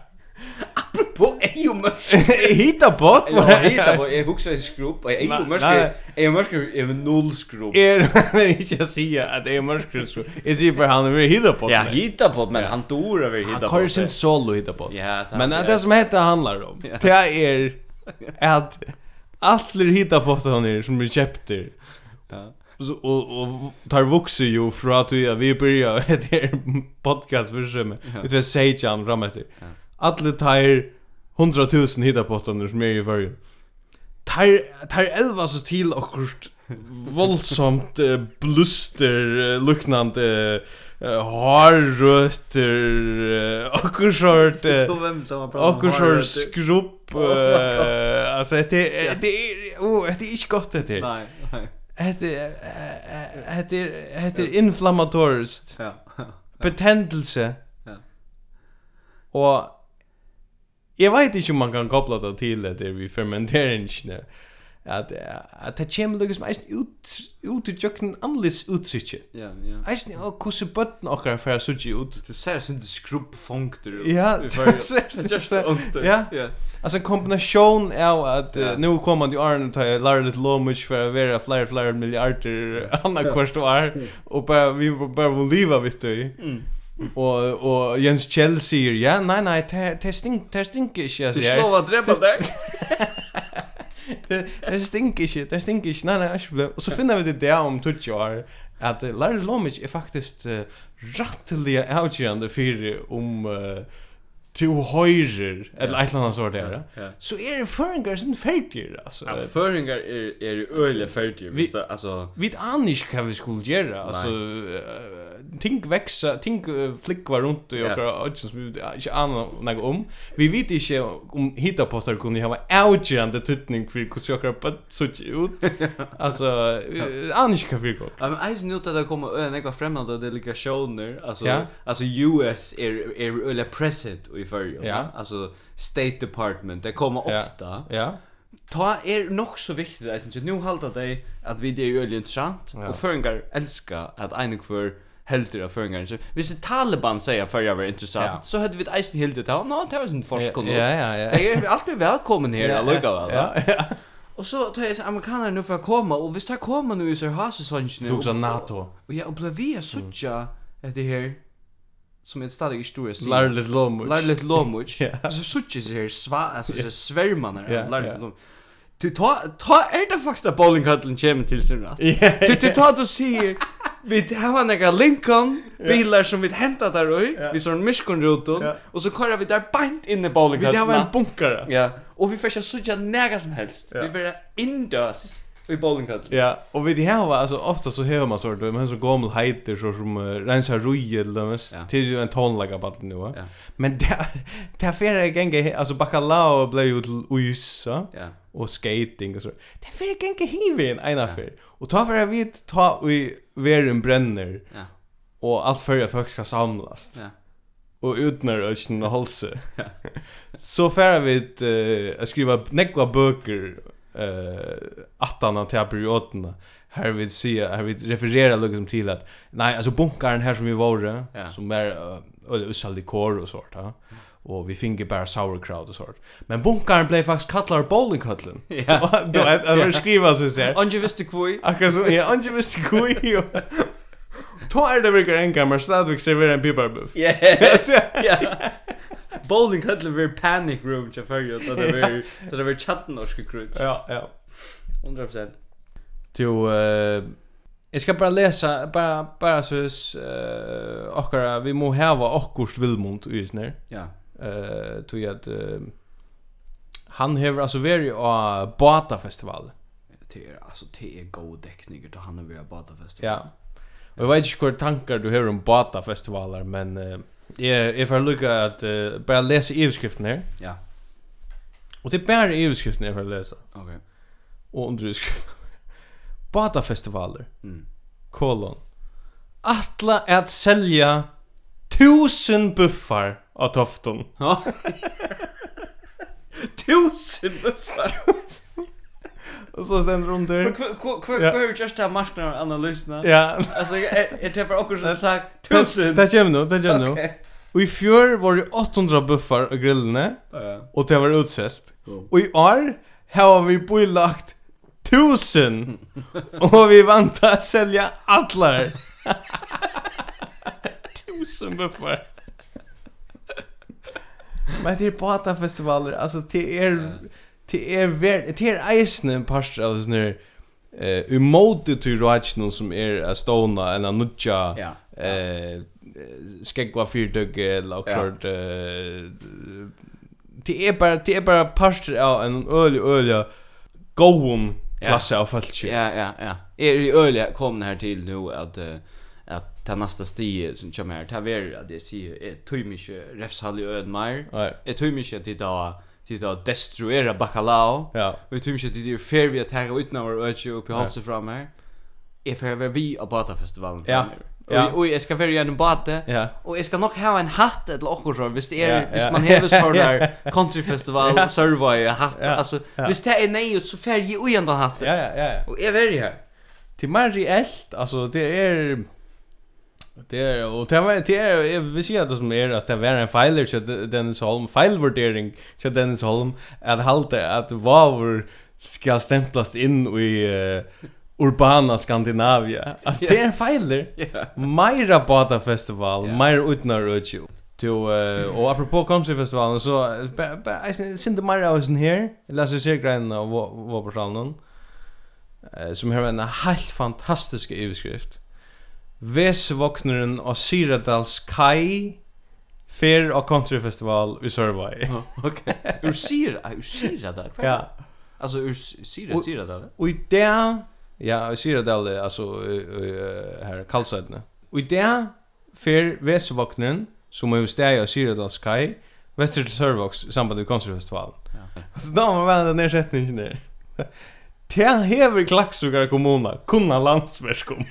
På EU-mörsk.
Hitta bort
Ja,
vad jag
hitta
hittar
på. Jag huxar en skrupp. Jag
Nej,
är mörsk.
nej.
Jag är mörsk. Jag är noll skrupp.
Är det inte jag säger att jag är mörskare så? Jag säger bara han vill hitta bort
Ja,
mig.
hitta på men han dör över hitta
Han
på.
kör sin solo hitta bort.
Ja, er
Men er det, det som heter handlar om, er det är att alla hitta bort han är som vi köpte.
Ja.
Så, och, och tar vuxen ju från att vi, vi börjar det här er podcast för sig Ut vi säger han fram efter.
Ja.
Alla tar hundratusen hittar på honom som är i förrjun. Tar, tar elva så till och våldsamt eh, bluster eh, luknande eh, harrötter eh, och sort eh,
Så vem som har pratat
och sort
harrötter?
skrupp
Oh my God.
eh, alltså det är det är oh, det är inte gott det er, här.
Nej, nej.
Hette eh, hette hette inflammatoriskt
Ja.
betendelse.
Ja.
Och jag vet inte om man kan koppla det till det er vi fermenterar att att det kommer lukar som eisen ut ut i jöknen anlis uttrycke.
Ja, ja.
Eisen och kusse bötten och för att suge ut.
Du ser sin skrubb fångter ut.
Ja,
Vi
det
får-
ser-
Det er just fångter.
Ja.
Ja.
Alltså en kombination av att
Ja.
eh, nu kommer det Arne ta lära lite lomish för att vara fler fler miljarder andra kvart år och bara vi bara vill leva vet du.
Mm.
Och och Jens Chelsea ja nej nej te- testing testing inte alltså.
Du slår vad dräppa där.
Det det stinker ikke, det stinker ikke, nei, nei, ikke problem. Og så finner vi det der om 20 år, at eh, Larry Lomic er faktisk uh, rattelig avgjørende fyrir om uh, to høyrer, eller et eller annet svar der, ja.
Ja.
så er det føringar sin ferdigere, altså.
Ja, Føringar er er øle ferdig,
Vi-
visst altså
Vi vet an ikke hva vi skulle gjøre, altså, eh, ting veksa, ting eh, flikva rundt i
Ja.
okkar ødsen som vi ikke aner noe om. um. Vi vet ikke om hitapostar kunne hava avgjørende tutning for hvordan okkar bøtt sutt ut. Altså, vi aner ikke hva vi går.
Ja, men eisen nu att det kommer öle några främmande delegationer, alltså
Ja.
alltså US är är öle present i förr.
Ja.
Alltså State Department, det kommer
Ja.
ofta.
Ja,
Ta er nok så viktig det, synes jeg. Nu halda deg at vi det er jo veldig interessant,
Ja.
og føringar elska at ein og hver heldur av føringar. Så hvis det Taliban sier at føringar var interessant,
Ja.
så hadde vi et eisen heldur til, nå, det var sin forskon.
Ja, ja, ja.
Det er alltid velkommen her, allukkavel.
ja,
Ja.
ja.
Og så tar jeg amerikaner nu for å komme, og hvis det kommer nu i sør hasesvansjene,
Du også NATO. Mm.
og jeg ble vi er suttja etter her, som är stadig i stora sidan.
Lär lite lom.
Lär lite lomuch.
Ja.
Så suttje sig här sva, alltså så svärmarna
Ja,
här. Lär lite
ja.
lomuch. Du ta ta är det er faktiskt att bowlinghallen kommer till sin rätt.
Ja.
Du du tar du ser vi har några Lincoln bilar som vi hämtat där och vi sån Michigan rutan
Ja.
och så kör vi där bant in i
Vi det var en
bowlinghallen.
bunkare.
Ja. Och vi får så suttje nära som helst.
Ja.
Vi blir indös i bowlinghallen.
Ja, och vid det här var alltså ofta så hör man sort men er så gammal heiter så som uh, rensar ruje eller nåt.
Ja.
Det är ju en tonlaga på nu va.
Ja.
Men det er- det färre gänge alltså bacalao blev ju till USA
Ja.
och skating och så. Det er färre gänge hiven en affär. Och ta för vi ta vi värn bränner
Ja.
och allt för att folk ska samlas
Ja.
och utnar ösnen och halse. så färre vi uh, att skriva nekva böcker eh attarna till perioderna. Här vi se här vi refererar liksom till att nej alltså bunkaren här som vi var
Ja.
som er, eh, är eller usald kor och sånt va. Och vi finge bara sauerkraut och sånt. Men bunkaren blev faktiskt kallar bowlinghallen.
Ja.
Då att att skriva så så här.
Onge visste kvui.
Akkurat så ja, anje visste kui. og- Ta er det virkar en kammer stadvik servera en piparbuff.
Yes. Ja. Bowling hade vi panic room till förr då det var då det var chatten och skrut.
Ja, ja.
100%.
Jo, eh jag ska bara läsa bara bara så eh akkara vi må häva akkurs villmont i snär.
Ja.
Eh tog jag att eh, han häver alltså veri av Batafestival.
Det är alltså det är god täckning då han vill bada fest.
Ja. Og jeg vet ikke hva tankar du har om Bata-festivaler, men eh, jeg, jeg får lukka at eh, bare lese iverskriften her.
Ja.
Og det er bare iverskriften jeg får lese,
Okej.
og underutskriften. Bata-festivaler,
Mm.
kolon. Atla at selja tusen buffar av tofton.
Ja. Tusen buffar.
Og så stender under.
Men kvar kvar kvar
Ja.
är just här marknaden analyserna.
Ja,
Alltså jag jag tänkte också som sagt
tusen.
1000.
Det kommer nå, det kommer nå.
Okej.
Og i fjør var det 800 buffar av grillene,
Ja.
og det var utselt. Og i år har vi bylagt tusen, og vi vant å selge atler. tusen buffar. Men det er batafestivaler, altså det er, det er, ver, det er eisne en parster av sånne eh umote til rajnon som er a stona eller nutja
Ja.
eh skegva fyrtøk eller
Ja.
klart eh det er bara det er bara parster av en øl øl goon klasse av folk.
Ja, ja, ja. Er i øyla kom her til nu at eh, at ta nästa stige som kommer her, ta ver at jeg sier er tøymisje refshall i ødmar.
Nei.
Er tøymisje til da til da destruera bacalao.
Ja.
Og jeg tøymisje til det er fair vi at her uten av øyla oppi halsen fram her. Jeg får være vi av Batafestivalen
Ja.
framöver.
Ja.
Og, og jeg skal være gjennom bate.
Ja.
Og jeg skal nok ha en hatt eller okkur så, hvis det er,
Ja,
hvis
ja.
man hever sånnar countryfestival,
Ja.
survey, hatt,
Ja,
altså, hvis det er nøyut, så fer jeg ui enda hatt.
Ja ja ja.
Og jeg veri her.
Til mer er reelt, altså det er Det er, og det er, det er, jeg vil si at det som er, at det var en feiler til Dennis Holm, feilvurdering til Dennis Holm, at halte at Vavur skal stemplast inn i eh, urbana Skandinavia. Altså, det er en feiler.
Ja.
Meira Bata Festival,
Ja.
meira utnar utju. Jo, eh, og apropå country festivalen så jeg synte meira av oss her. Jeg leser sergreinen av Våpersalen. Eh, som har en helt fantastisk overskrift. Vesvåkneren av Syradals Kai fer av country festival i Sørvei.
Okej. Ur syra, ah, ur syra där.
Ja.
Alltså ur s- syra,
Och-
syra där.
Og i det, ja, i Syradal, er altså eh, eh, her, Kalsøyden. Og i det, fer Vesevåkneren, som er jo steg av Syradals Kai, Vester til Sørvoks, i samband med konsertfestivalen. Ja. Så da må man være den nedsetningen der. Det hever klaksugare kommuna, kunna landsverskom.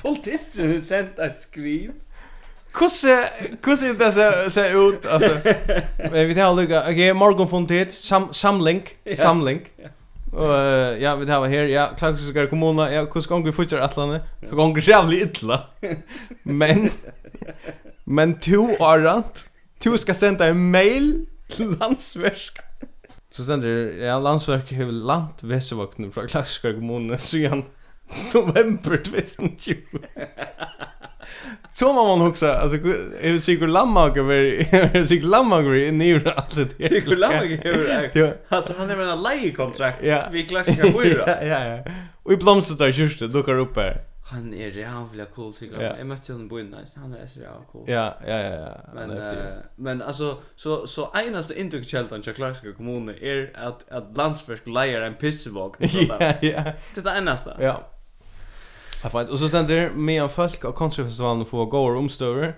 Politister har sent ett skriv.
Kusse, kusse det ser ser ut alltså. Men vi tar lucka. Okej, okay, morgon från tid sam samling, samling. Och eh, ja, vi tar här. Ja, klart så ska kommuna. Ja, hur ska vi få till Atlanta? Det går jävligt illa. Men men to arant. To ska sända en mail till landsverk. Så ständer ja landsverk hur land västvakten från Klaxskog kommun så igen november 2020. Så må man också alltså är det säkert lamma över är det säkert lamma över i nivå allt det där.
Nico Lammeck hefur
Ja.
Alltså han er med en leiekontrakt
Ja.
Vi klassiska fyra
Ja ja ja. Och i blomster där just det dukar upp här.
Han er jävla cool tycker
Ja.
jag. Jag mötte honom på innan. Han är så jävla cool.
Ja ja ja ja.
Men
Han är häftig.
eh, men alltså så så enaste intryckskällan till Klarska kommun är att att er landsverk lejer en pissevåg. er
Ja ja.
Det är enaste.
Ja. Ja, fint. Och så ständer det med en folk av konsertfestivalen får gå och omstöver.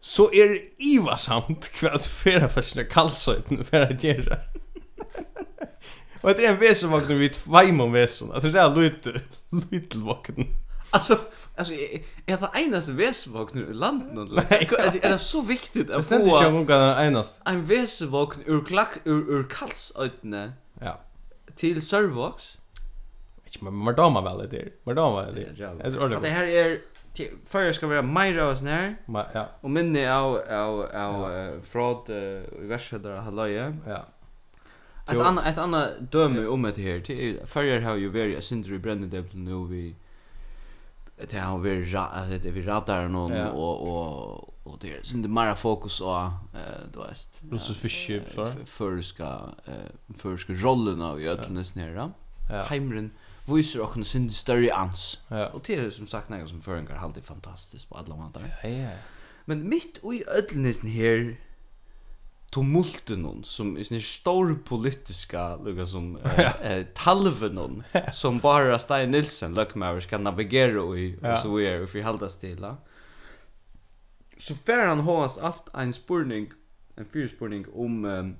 Så är det ivasamt kvar att färra för sina kallsöjten för att göra. Och det är en väsenvakten vid tvajm om väsen. Alltså det är lite, lite vakten.
Alltså alltså är- är er, det enaste väsvåg nu i landet eller? Är det- Är det så viktigt
Det
att
ständer inte jag
få
om kan enast.
en väsvåg ur klack ur ur kallsötne
Ja.
till Sörvågs?
Ikke, men Mardama vel det er. Mardama vel det
Ja,
er.
ja.
Jeg tror
Att det
det.
här är till- Förr ska vara Majra och sån här.
Ma- Ja,
Och minne av av av eh, fraud eh, i Västsjödra halvöje.
ja.
Ett
Jo.
annat ett annat döme om det här. till- Förr har er- ju varit jag synder i Brännedebel nu vi det har vi alltså det vi radar någon
Ja.
och och och det är synd mera fokus på eh då är
Russisk fiskeskip, så.
förska eh förska rollen av i öllnes nere.
Ja.
Heimren visar också synd större ans.
Ja.
Och det är som sagt något som förenkar alltid fantastiskt på alla måter.
Ja, ja.
Men mitt i ödlnisen her er tumulten som är sån stor politiska lukka som eh, eh, talven hon som bara Stein Nilsen lökmaver ska navigera i
Ja.
och så är och förhålla stilla. Så fär han hås allt en spurning en fyrspurning om um,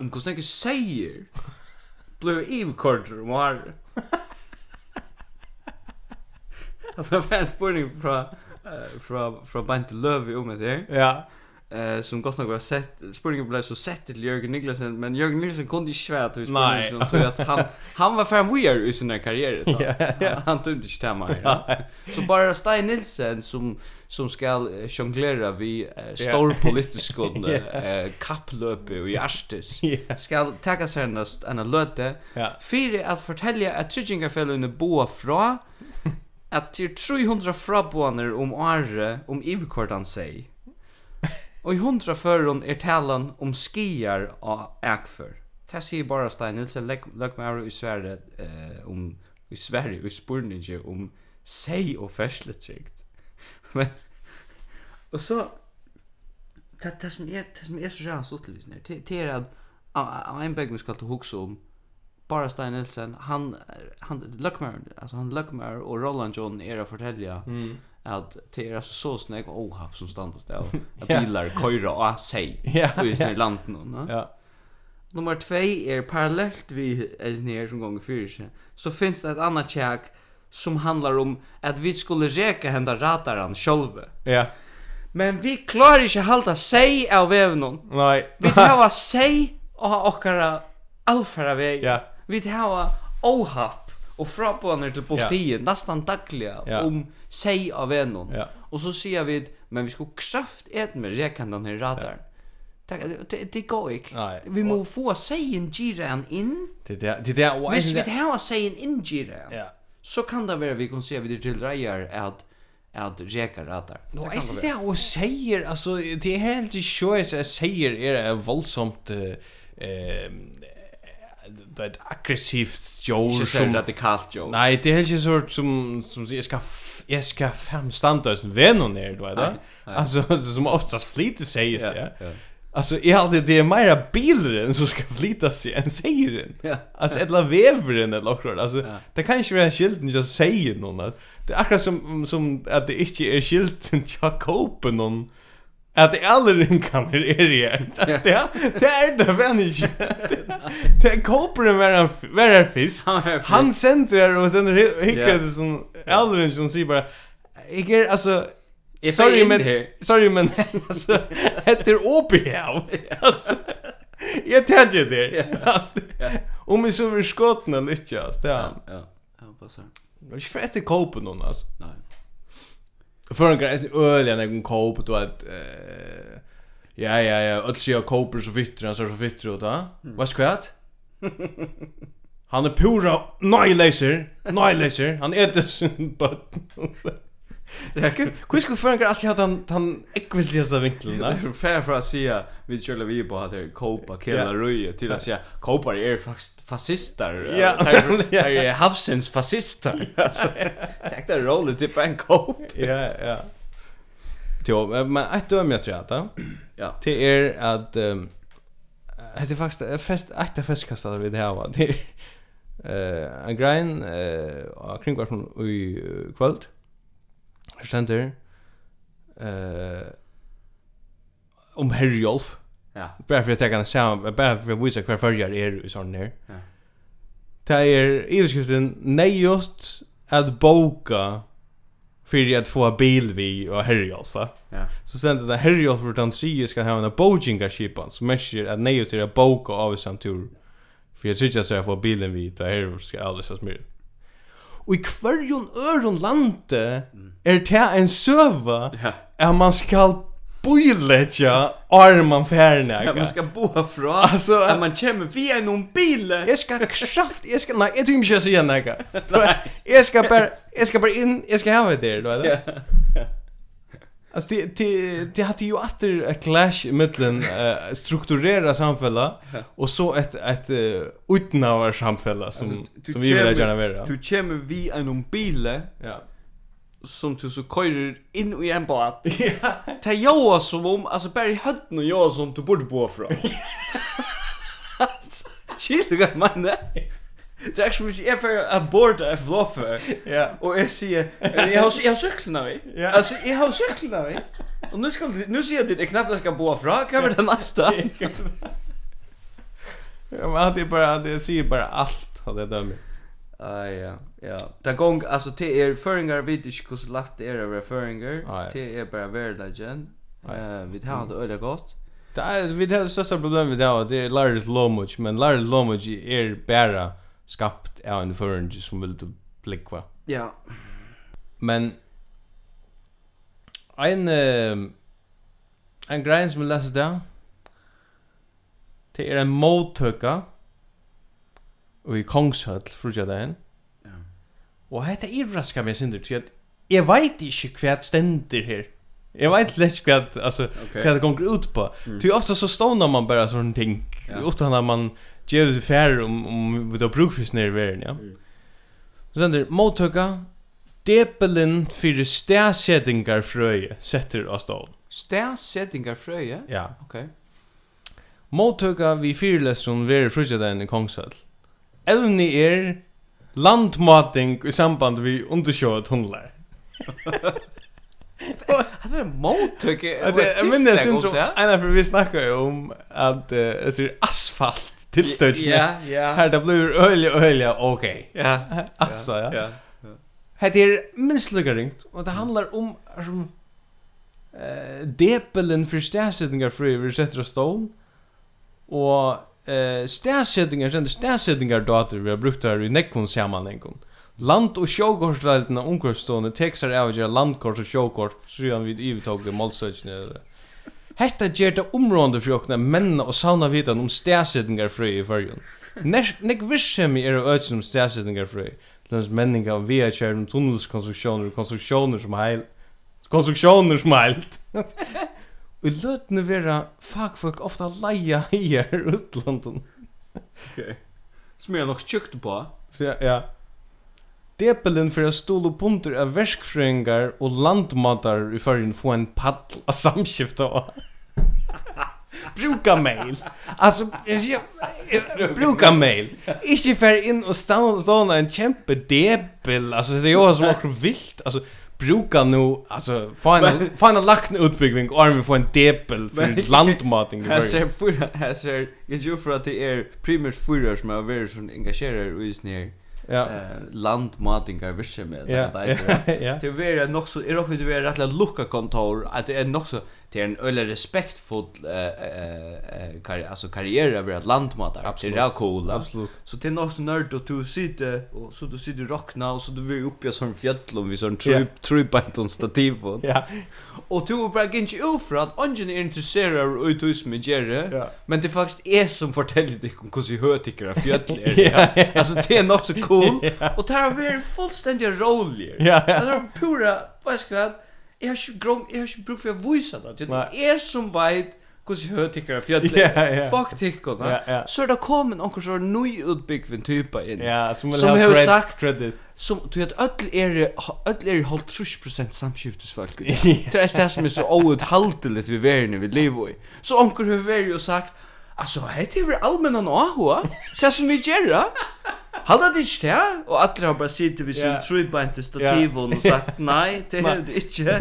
om hur snäcker säger blev ivkorter om har Alltså det var en spurning från eh, från från Bent Lövi om det här.
Ja.
Eh som gott nog var sett spurningen blev så sett till Jörgen Niklasen men Jörgen Niklasen kunde inte svära till
Nej.
spurningen tror att han han var fan weird i sin karriär då. Han, han tog inte stämma. Ja. Så bara Stein Nilsen som som ska eh, jonglera vi eh, stor politisk eh, kapplöp i Arstis.
Ja.
Ska ta sig en en löte.
Ja.
Fyra att fortälja att Tryggingafellan boa fra att det är 300 fraboaner om året om ivkortan sig. Och i 100 föron är er talan um om skiar av ägför. Det säger bara Stein Nilsen lägg, lägg med i Sverige eh, om i Sverige i spurninge om sig och färsletrikt. Men och så det, det som är det som är så jävla stort liksom det, det är att av- av en bägge vi ska ta huxa om bara um Stein Nilsen han han Luckmer alltså han Luckmer och Roland John er är att fortälja mm. att det är alltså så snägg och ohapp som standas där att
Ja.
bilar köra och sig
Ja,
och i
ja.
snär landen och no?
Ja.
Nummer 2 er parallellt vi är nere som gånger fyra sig. Så finns det ett annat tjäk som handlar um om att vi skulle räka hända rataren själva.
Ja.
Men vi klarar inte att halta sig av vävnon.
Nei.
Vi tar sig och har åkara allfärra väg.
Ja.
Vi tar ohapp och frapåner till politiet nästan dagliga
Ja.
om sig av vävnon.
Ja.
Och så säger vi men vi ska kraft äta med räkan den här rataren. Det, det, det går inte.
Nei.
Vi må få seien giran inn.
Det er det- det er der.
Hvis vi har seien inn giran,
Ja.
så kan det være vi kan se vi til reier at at reka ratar.
Nå,
Det
jeg
kan
synes
det
det hun sier, altså, det er helt ikke sjøys jeg sier er et voldsomt eh, eh, det er et aggressivt
være.
jord
Ikke så
som...
radikalt, jo.
Nei, det er helt ikke sånn som, som sier, jeg skal, f- jeg skal fremstande oss venner ned, du vet da? Altså, som oftast flyter sier seg, ja. Alltså är det det är mera bilden som ska flyta sig än sägeren.
Ja.
Alltså eller väveren eller något sånt. Alltså det kan inte vara skilten just säger någon att det är akkurat som som att det inte är skilten jag köper någon att det aldrig kan det är det. Det det är det väl inte. Det- Det köper den vara vara fisk.
Han var en fisk.
Han sänder och sen hickar
Ja.
det som aldrig som säger bara jag är alltså
Jeg får
Sorry
inn
men
her.
sorry men alltså heter OP här. Alltså jag tänkte det. Alltså om vi så vill skottna lite alltså. Ja.
Ja, ja, passar.
Det är för att kopa någon alltså.
Nej.
För en grej öl jag kan kopa då att eh ja ja ja att se jag koper så vittrar han så så vittrar och då. Vad ska jag? Han är pura nej laser, nej laser. Han äter sin butt.
Hur skulle förrän att jag han han ekvisligaste vinkeln där. Fair för att säga vi körde vi på att det kopa
Ja.
killa röje till att säga kopa är faktiskt fascister.
Ja.
Det är havsens fascister. Alltså, Tack där rollen till på en kop.
Ja, ja. Jo, men ett døm jeg tror jeg, da.
Ja.
Det er at... Um, det er faktisk eh, fest, et av festkastet vi det her var. Det er eh, en grein eh, av kringvarsen i eh, kvöld. Her stender eh, um om Herjolf.
Ja.
Bara för att jag kan säga, bara för att visa hver följare er i sån här. er
Ja.
Det är överskriften nejot att boka för att få bil vi och Herjolf. va?
Ja.
Så sen det Herjolf utan tredje ska ha en bokingarskipan som människor att nejot är att boka av i samtur. För jag tycker att jag får bilen vi tar här ska alldeles att smyr. Och i kvarjon öron lande är det en söva
Mm. Ja.
att man ska Bojletja arman färna.
Ja, man ska bo från. Alltså,
Alltså,
att man kommer via någon bil.
Jeg skal kraft, jeg skal, nei, jeg tror ikke jeg sier nekka. Jeg skal bare, jeg skal bare inn, jeg skal hava det, du vet det. Alltså det det det hade ju åter a clash mellan uh, strukturera samfälla och så ett ett uh, utnavar samfälla som
Du
som vi vill
kjemur-
gärna vara.
Du kommer via någon bil
Ja.
som du så køyrer inn i en båt. Ta joa som om, alltså um, bara i hönden och joa som du borde bo från. Chill, vad man är. Det är actually jag för att borda en floffe.
Ja.
Och jag säger, jag har jag har cyklarna vi.
Ja.
Alltså jag har cyklarna vi. Och nu ska du- nu ser jag det är knappt jag ska bo från. Kan vi den nästa?
Ja, men det är bara det säger bara allt hade jag dömer.
Ah, ja, ja. Ta gong, altså, te er føringar vet ikke hvordan lagt det er å være føringar.
Ah, ja.
Te er bare verdagen.
Ah,
Uh, vi tar det øyla godt.
Det är vi det här största problemet vi har det är Lars Lomuch men Lars Lomuch är bara skapt av en förrän som vill du blicka.
Ja.
Men en uh, en grein som vi läser där det är en mottøkka i Kongshöll frutja dagen.
Ja.
Og hetta irraskar meg sindur til at jeg veit ikke hva stendur her. Jeg veit ikke hva, altså,
Ok.
hva det gonger ut på. Mm. Ty ofta så stånar man bara sånne ting,
Ja.
utan at man gjør seg færre om, om vi tar brukfis nere i verden, ja.
Mm.
Så sender, måttøkka, depelen fyrir stedsettingar frøye setter av stål.
Stærsettingar frøye.
Ja.
Ok.
Måttøkka vi fyrlesson veri frutjadagen i Kongshøll. Evni er landmating i samband vi undersjået tunnlar.
Hatt er mottøkke.
Ja, det jag minns
er
syndrom. Ena för vi snackar ju om att um eh så är asfalt tilltöts.
Ja, ja.
Här det blir öliga öliga okej.
Ja.
Alltså ja.
Ja.
Det är minst lika ringt och det handlar om er som eh depelen för stäsättningar för över sätter stone och eh stäsättningar sen stäsättningar dator vi har brukt här i Neckons sammanhang. Land- og sjókortræðina ungkvörstående teksar av gjerra landkort og sjókort sýan við yvirtók við málsøkjene. Hetta ger det områdende fyrir okna menna og sauna vitan om stedsetningar frøy i fyrjun. Nek vissemi er av ötsin om stedsetningar frøy, til hans menninga av VHR om tunnelskonstruksjoner og konstruksjoner som heil. Konstruksjoner som heilt. Og løtene vera fagfolk ofta leia heier utlandun.
Smyr nok tjukt på.
Så ja, ja. Depelen för att stola punter av verskfröingar och landmatar i förrän få en paddel av samskifta av. Bruka mail. Alltså, jag, jag, jag, bruka mail. Ikke fär in och stanna stanna en kämpe depel. Alltså, er det är ju som också vilt. Alltså, bruka nu, alltså, få en, få en lagt utbyggning och vi får en depel för landmatning i
Här
förrän.
ser fyra, här ser, jag tror för att det är primärt fyra som har varit som engagerar i sån här
Ja,
eh, landmatingar virksomhet.
ja, ja.
Det är väl nog så är också det är rätt att lucka kontor att det är nog så det är en öle respektfull er eh eh eh, karri alltså karriär över att landmatare. Det är rätt cool.
Absolut.
Så er det är nog så nörd och du sitter och så du sitter rockna och så du vill uppe i sån fjäll om vi sån
Ja.
trup trupant stativ och
Ja,
Och du är er bara inte ufra att ungen är intresserad av ut hos mig Jerry.
Ja.
er Men det är faktiskt är som fortäller dig om hur jag tycker att fjötl är. Alltså det är nog så hon och tar har varit fullständigt rolig.
Ja, ja.
Det har pura, vad ska jag Jag har inte grung, jag har inte bruk för att visa det. Det
Nei.
är som vet hur så hör tycker fjöll.
Ja, ja.
Fuck tycker.
Ja, ja.
Så er det kommer någon så ny utbyggd typa in.
Ja, som vill
Som
ha
har
cred-
sagt-
credit.
Som du vet öll er öll er halt 30% samskiftisfolk. Det är det som är så oud halteligt vi är nu vi lever i. Så onkel har varit och sagt Alltså, det är väl allmänna nåhua? Det som vi gör, Han hade inte det, och alla har bara sittit vid sin
Ja.
trubant i stativen och sagt nej, det är det inte.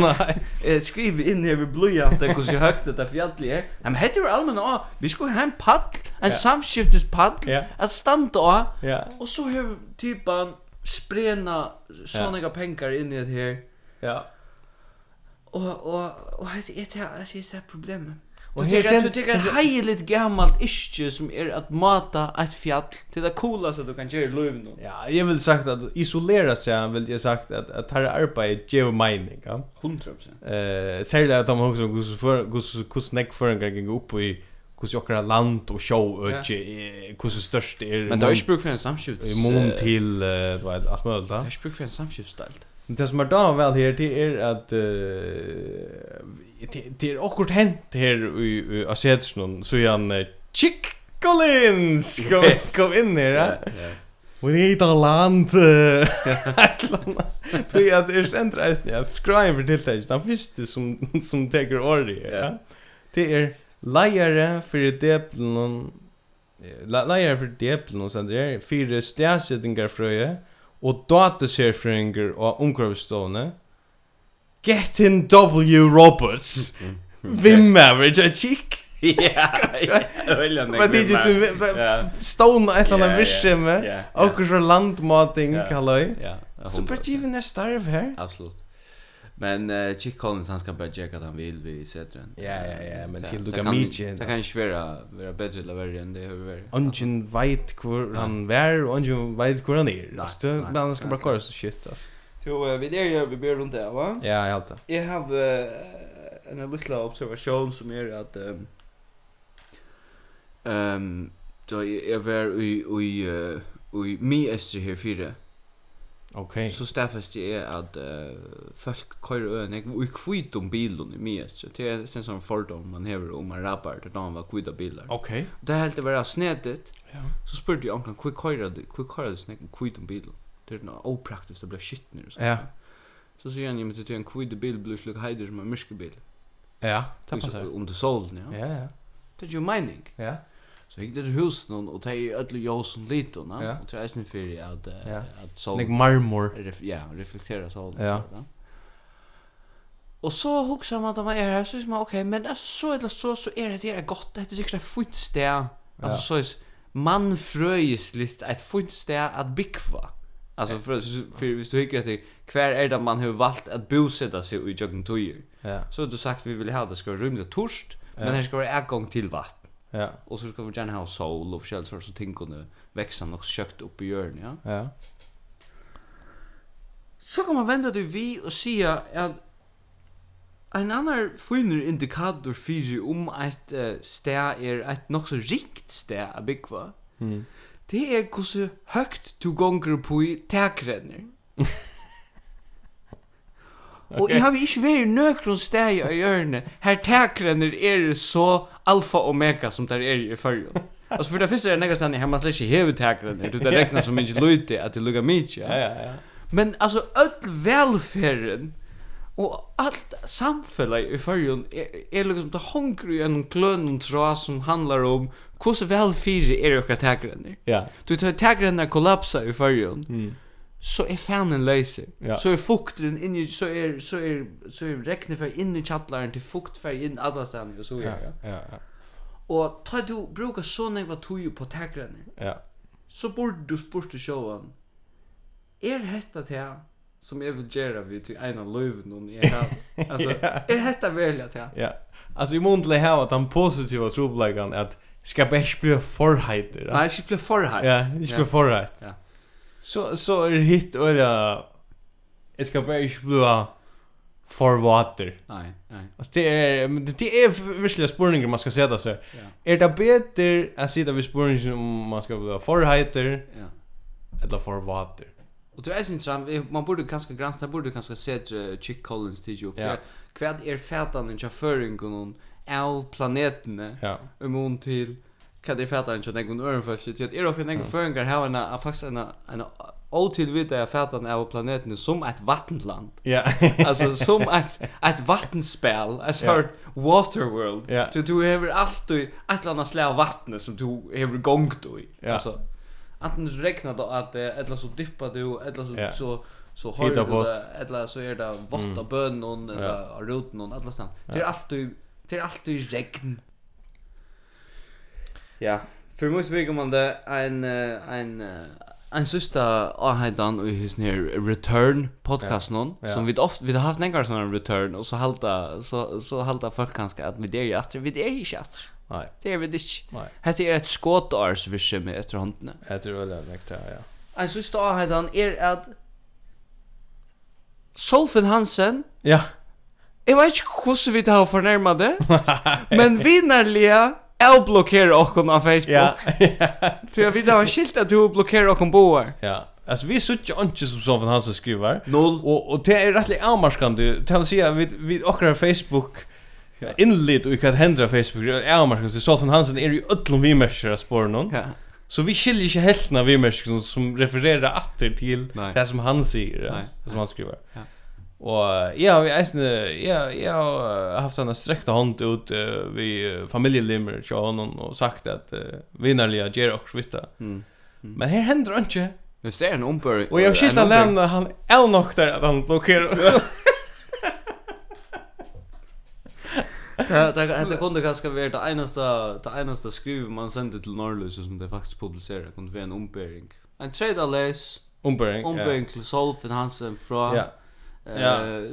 Nej. Skriv in här vid blöjant, det går så högt det där fjället är. Men det är väl allmänna nåhua? Vi ska ha en paddel, en samskiftispaddel,
Ja.
att stanna av.
Ja.
Och så hur typan sprena såna ja. pengar in i det här.
Ja.
Och och och det är det här det är problemet.
Och
Och
här
det är
sen-
det är heiligt gammalt iske som är att er mata ett fjall till det coolaste du kan göra i livet nu.
Ja, jag vill sagt att isolera sig vill jag sagt att att här arbetet ger mening, er ja.
100%.
Eh, særlig at de også hvordan for hvordan hvordan nekk føringar gikk opp i hvordan okkara land og sjó øki hvordan størst er
Men det är ju bruk för en samskift.
i mun til eh, du vet alt mulig da.
Det er är ju bruk för en samskiftsstil.
Men det som er da vel her det er at eh, det det er akkurat hent her i i Asetsen så igjen eh, Chick Collins kom,
Yes.
kom inn her ja. We need a land eh, et eller annet. Tog at er sentra eisen Jeg skrev for tiltak Den første som, som teker året her ja. Det er Leiere fyrir deplen Leiere fyrir deplen Og sånt der Fyrir stedsettingar frøye Og dataserfrøyngar Og omkravstående Get in W Roberts
Mm-hmm.
Vimmer Jeg kikk
Ja. Välja
Men det er ikke
Ja.
så Stående et eller
Ja, ja,
annet virkjemme
ja, ja.
Akkur så landmating
Ja.
Kalløy
Ja.
Så bara er given är starv här.
Absolut. Men uh, Chick Collins han ska bara checka att han vill vid Sätren.
Ja, ja, ja, men
Det-
till du
det
kan meet igen,
Det kan ju svära vara bättre eller värre än det har varit.
Ungen vet hvor han vær, og ungen vet hvor han er.
Nei,
Altså,
nei,
men han skal
nei,
bare
nei.
kåre så shit, altså.
Jo, eh, vi där gör vi börjar runt det, va?
Ja, jeg halte.
Jag har eh, en liten observation som är att ehm ehm då jag var i i eh, i mi ester här fyra.
Ok.
Så stäffast det är att eh, folk kör ön jag i kvitt om bilen i mi ester. Det är sen som fördom man har om man rappar då man var kvitt av bilar.
Ok.
Det helt det var snedigt.
Ja.
Så spurte jag onkan hur kör du hur kör du snack kvitt om bilen. Det är något opraktiskt det blir shit nu så.
Ja.
Så säger han ju med till en kvitt bil blir slik heider som en mörkbil.
Ja, det
Tappa
passer.
sig under solen, ja.
Ja, ja,
Det är ju mening.
ja.
Så gick det till husen och- och tog ödla ljusen lite och
Ja.
namn. Och tror jag är för att, eh,
Ja.
att
Nek
solen
marmor.
ref, ja, reflekterar solen.
Ja.
Så, Och så huxar man att man är här så är man okej, er men er alltså så eller så så är det det är er gott. Det är säkert ett fint ställe. Alltså så är s- mannfröjisligt ett fint ställe att bikva. Alltså för för hvis du hycker att det kvar är det man har valt att bosätta sig i Jöggen Toyer.
Ja,
Så har du er sagt vi vill ha det ska vara rymligt torst,
Ja.
men här ska vara en gång till vatten.
ja,
Och så ska vi gärna ha sol och forskjellige sorts ting kunde växa nog kökt upp i hjörnet, ja.
ja.
Så kan man vända dig vi och säga att en annan finner indikator för om ett uh, städ är ett nog så rikt städ att bygga.
Mm.
Det är hur högt du gånger på i täkrenner. Och jag har ju inte varit nökron städ i hjörnet. Här täkrenner är er så alfa och omega som där är i förrjun. Alltså för det finns det en egen sanning här man släcker huvudtäkrenner. Det räknas som inte lite att det luggar mycket. Ja,
Ja, ja.
Men alltså öll välfärden och allt samfället i förrjun är, är liksom det hångru i en klön och tråd som handlar om hur välfärd är det och tägrande.
Ja,
Du tar tägrande kollapsar i förrjun så är fanen löser.
Mm. Ja.
Så är fukten in i, så är, så är, så är regnefärg in i kattlaren till fuktfärg in alla ställen och så
ja,
vidare. Ja.
ja, ja,
Och tar du brukar så när vad tog på tägrande
ja.
så borde du spurt til sjåan Er hetta det som jeg vil gjøre vi til en av løven og jeg har Altså, er hetta vel at jeg
Ja. Altså, i mån til å ha at han positiva troblegan er at skal bare ikke bli forheiter.
Nei, ikke blir for her
Ja, ikke bli forheit.
Ja.
Så, så er hitt øyla, jeg skal bare ikke bli forvater.
Nei, nei
Alltså det är men det det är verkligen spårningar man ska sätta så.
Ja.
Er Är det bättre att sitta vid spårningen om man ska vara förheiter
Ja,
eller for vater.
Og det er eisen sam, man burde kanskje granska, man burde kanskje sett eh, Chick Collins tidsi opp.
Ja.
Ja. Hva er fætanen til føringen av planetene
Ja.
om hon til hva det er fætanen til en øren først? Til at er ofte en egen føringer har en faktisk en, en otilvita fætanen av planetene som et vattenland.
Ja.
Alltså som ett ett vattenspel, a sort waterworld.
Ja.
Du du har alltid ett eller annat slag av vatten som du har gångt i.
Ja.
Alltså antingen regnar det att eh, eller så dippar du eller så
Ja.
så så har du
Hitta bort.
det eller så är det vått
Mm.
av bönor eller av roten och alla sånt. Det är alltid det är alltid regn. Ja, för mycket bygger man det en eh, en eh, En sista avheitan i hisen her Return podcasten hon
Ja. Ja.
som vi ofta vi har haft några såna return och så halta så så halta folk kanske att vi det är ju att vi det är ju chatt.
Nei.
Det är vi det. ikke.
Nei.
Hetta er ett skotars visse med efter handen.
Jeg tror det er nekta, ja.
En sista avheitan er at Solfen Hansen
Ja.
Jeg vet ikke hvordan vi tar fornærma det Men vinnarlige Jeg blokkerer okken av
Ja.
Facebook Til at vi tar skilt at du blokkerer okken boer
Ja. Altså, vi er suttje ikke som sånn han som skriver.
Null
Og, og det er rettelig avmarskande. Til å si at vi, vi akkurat Facebook innlitt og ikke at hendra Facebook er avmarskande. Så Solfin Hansen er jo ødlom vimersker av sporen noen.
Ja
Så vi skiljer ikke helten av vimersker som, som refererer atter til
Nei.
det som han sier, ja,
Nei.
det som han skriver.
Ja.
Og eh, jeg har eisen, jeg, jeg har haft en strekta hånd ut uh, vi eh, familielimmer til honom og sagt at uh, vinnarliga gjer og svitta.
Mm.
Men her hender han ikke.
Vi ser en ombör
Og jeg har skilt alene, han er nok der at han blokkerer.
Det det kunde kanske vara det enaste det enaste skriv man sände till Norrlös som det faktiskt publicerar kunde vara en ombäring. En trade allies
Ombering. ja.
ombäring till Solfen Hansen från
Ja. Ja.
eh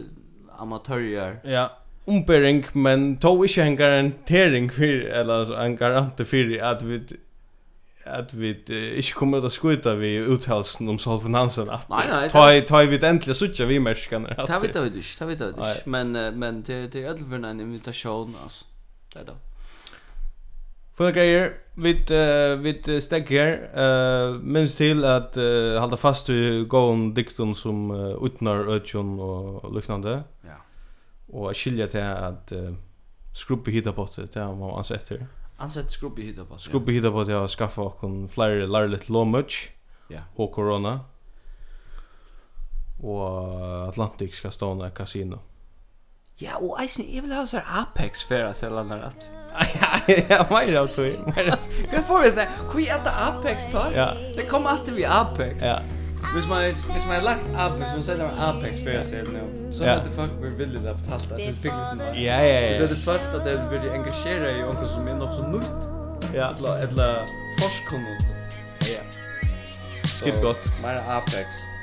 amatörer.
Ja. Ombering, men to ikke en garantering for, eller altså, en garante for at vi at vi uh, ikke kommer ut å skuta vi uthalsen om Solfen Hansen at
Nei, nei,
ta, ta vi det endelig suttja vi merskene at
Det vet jag inte, det vet jag
Nej.
inte. Men eh, men det det är ödelförna en invitation alltså. Det är det.
Fyrir greier, vit uh, vit eh, stegg her uh, minst til at uh, halda fast i gåum diktum som uh, utnar ötjon og luknande
Ja.
og skilja til at uh, skrubbi hitapotte til han var ansett her
Ansett skrubb i hytta på.
Skrubbi hitta på at jeg har skaffa okkon flere lærligt låmøtj
Ja.
og korona og Atlantik skal stående kasino
Ja, och eisen, jag vill ha så här Apex för att sälja den här.
Ja, meira av tog
Jag får det så här, kan vi äta Apex då?
Ja,
Det kommer alltid vi Apex.
ja,
Hvis man hvis man har lagt Apex som sender man Apex för sig nu. Så
Ja.
hade folk varit villiga att betala det så fick liksom.
ja, ja,
Det
ja,
är det första det vill bli engagera i något som är något så nytt
ja.
eller eller forskning. Ja.
Skilt gott.
Mer Apex.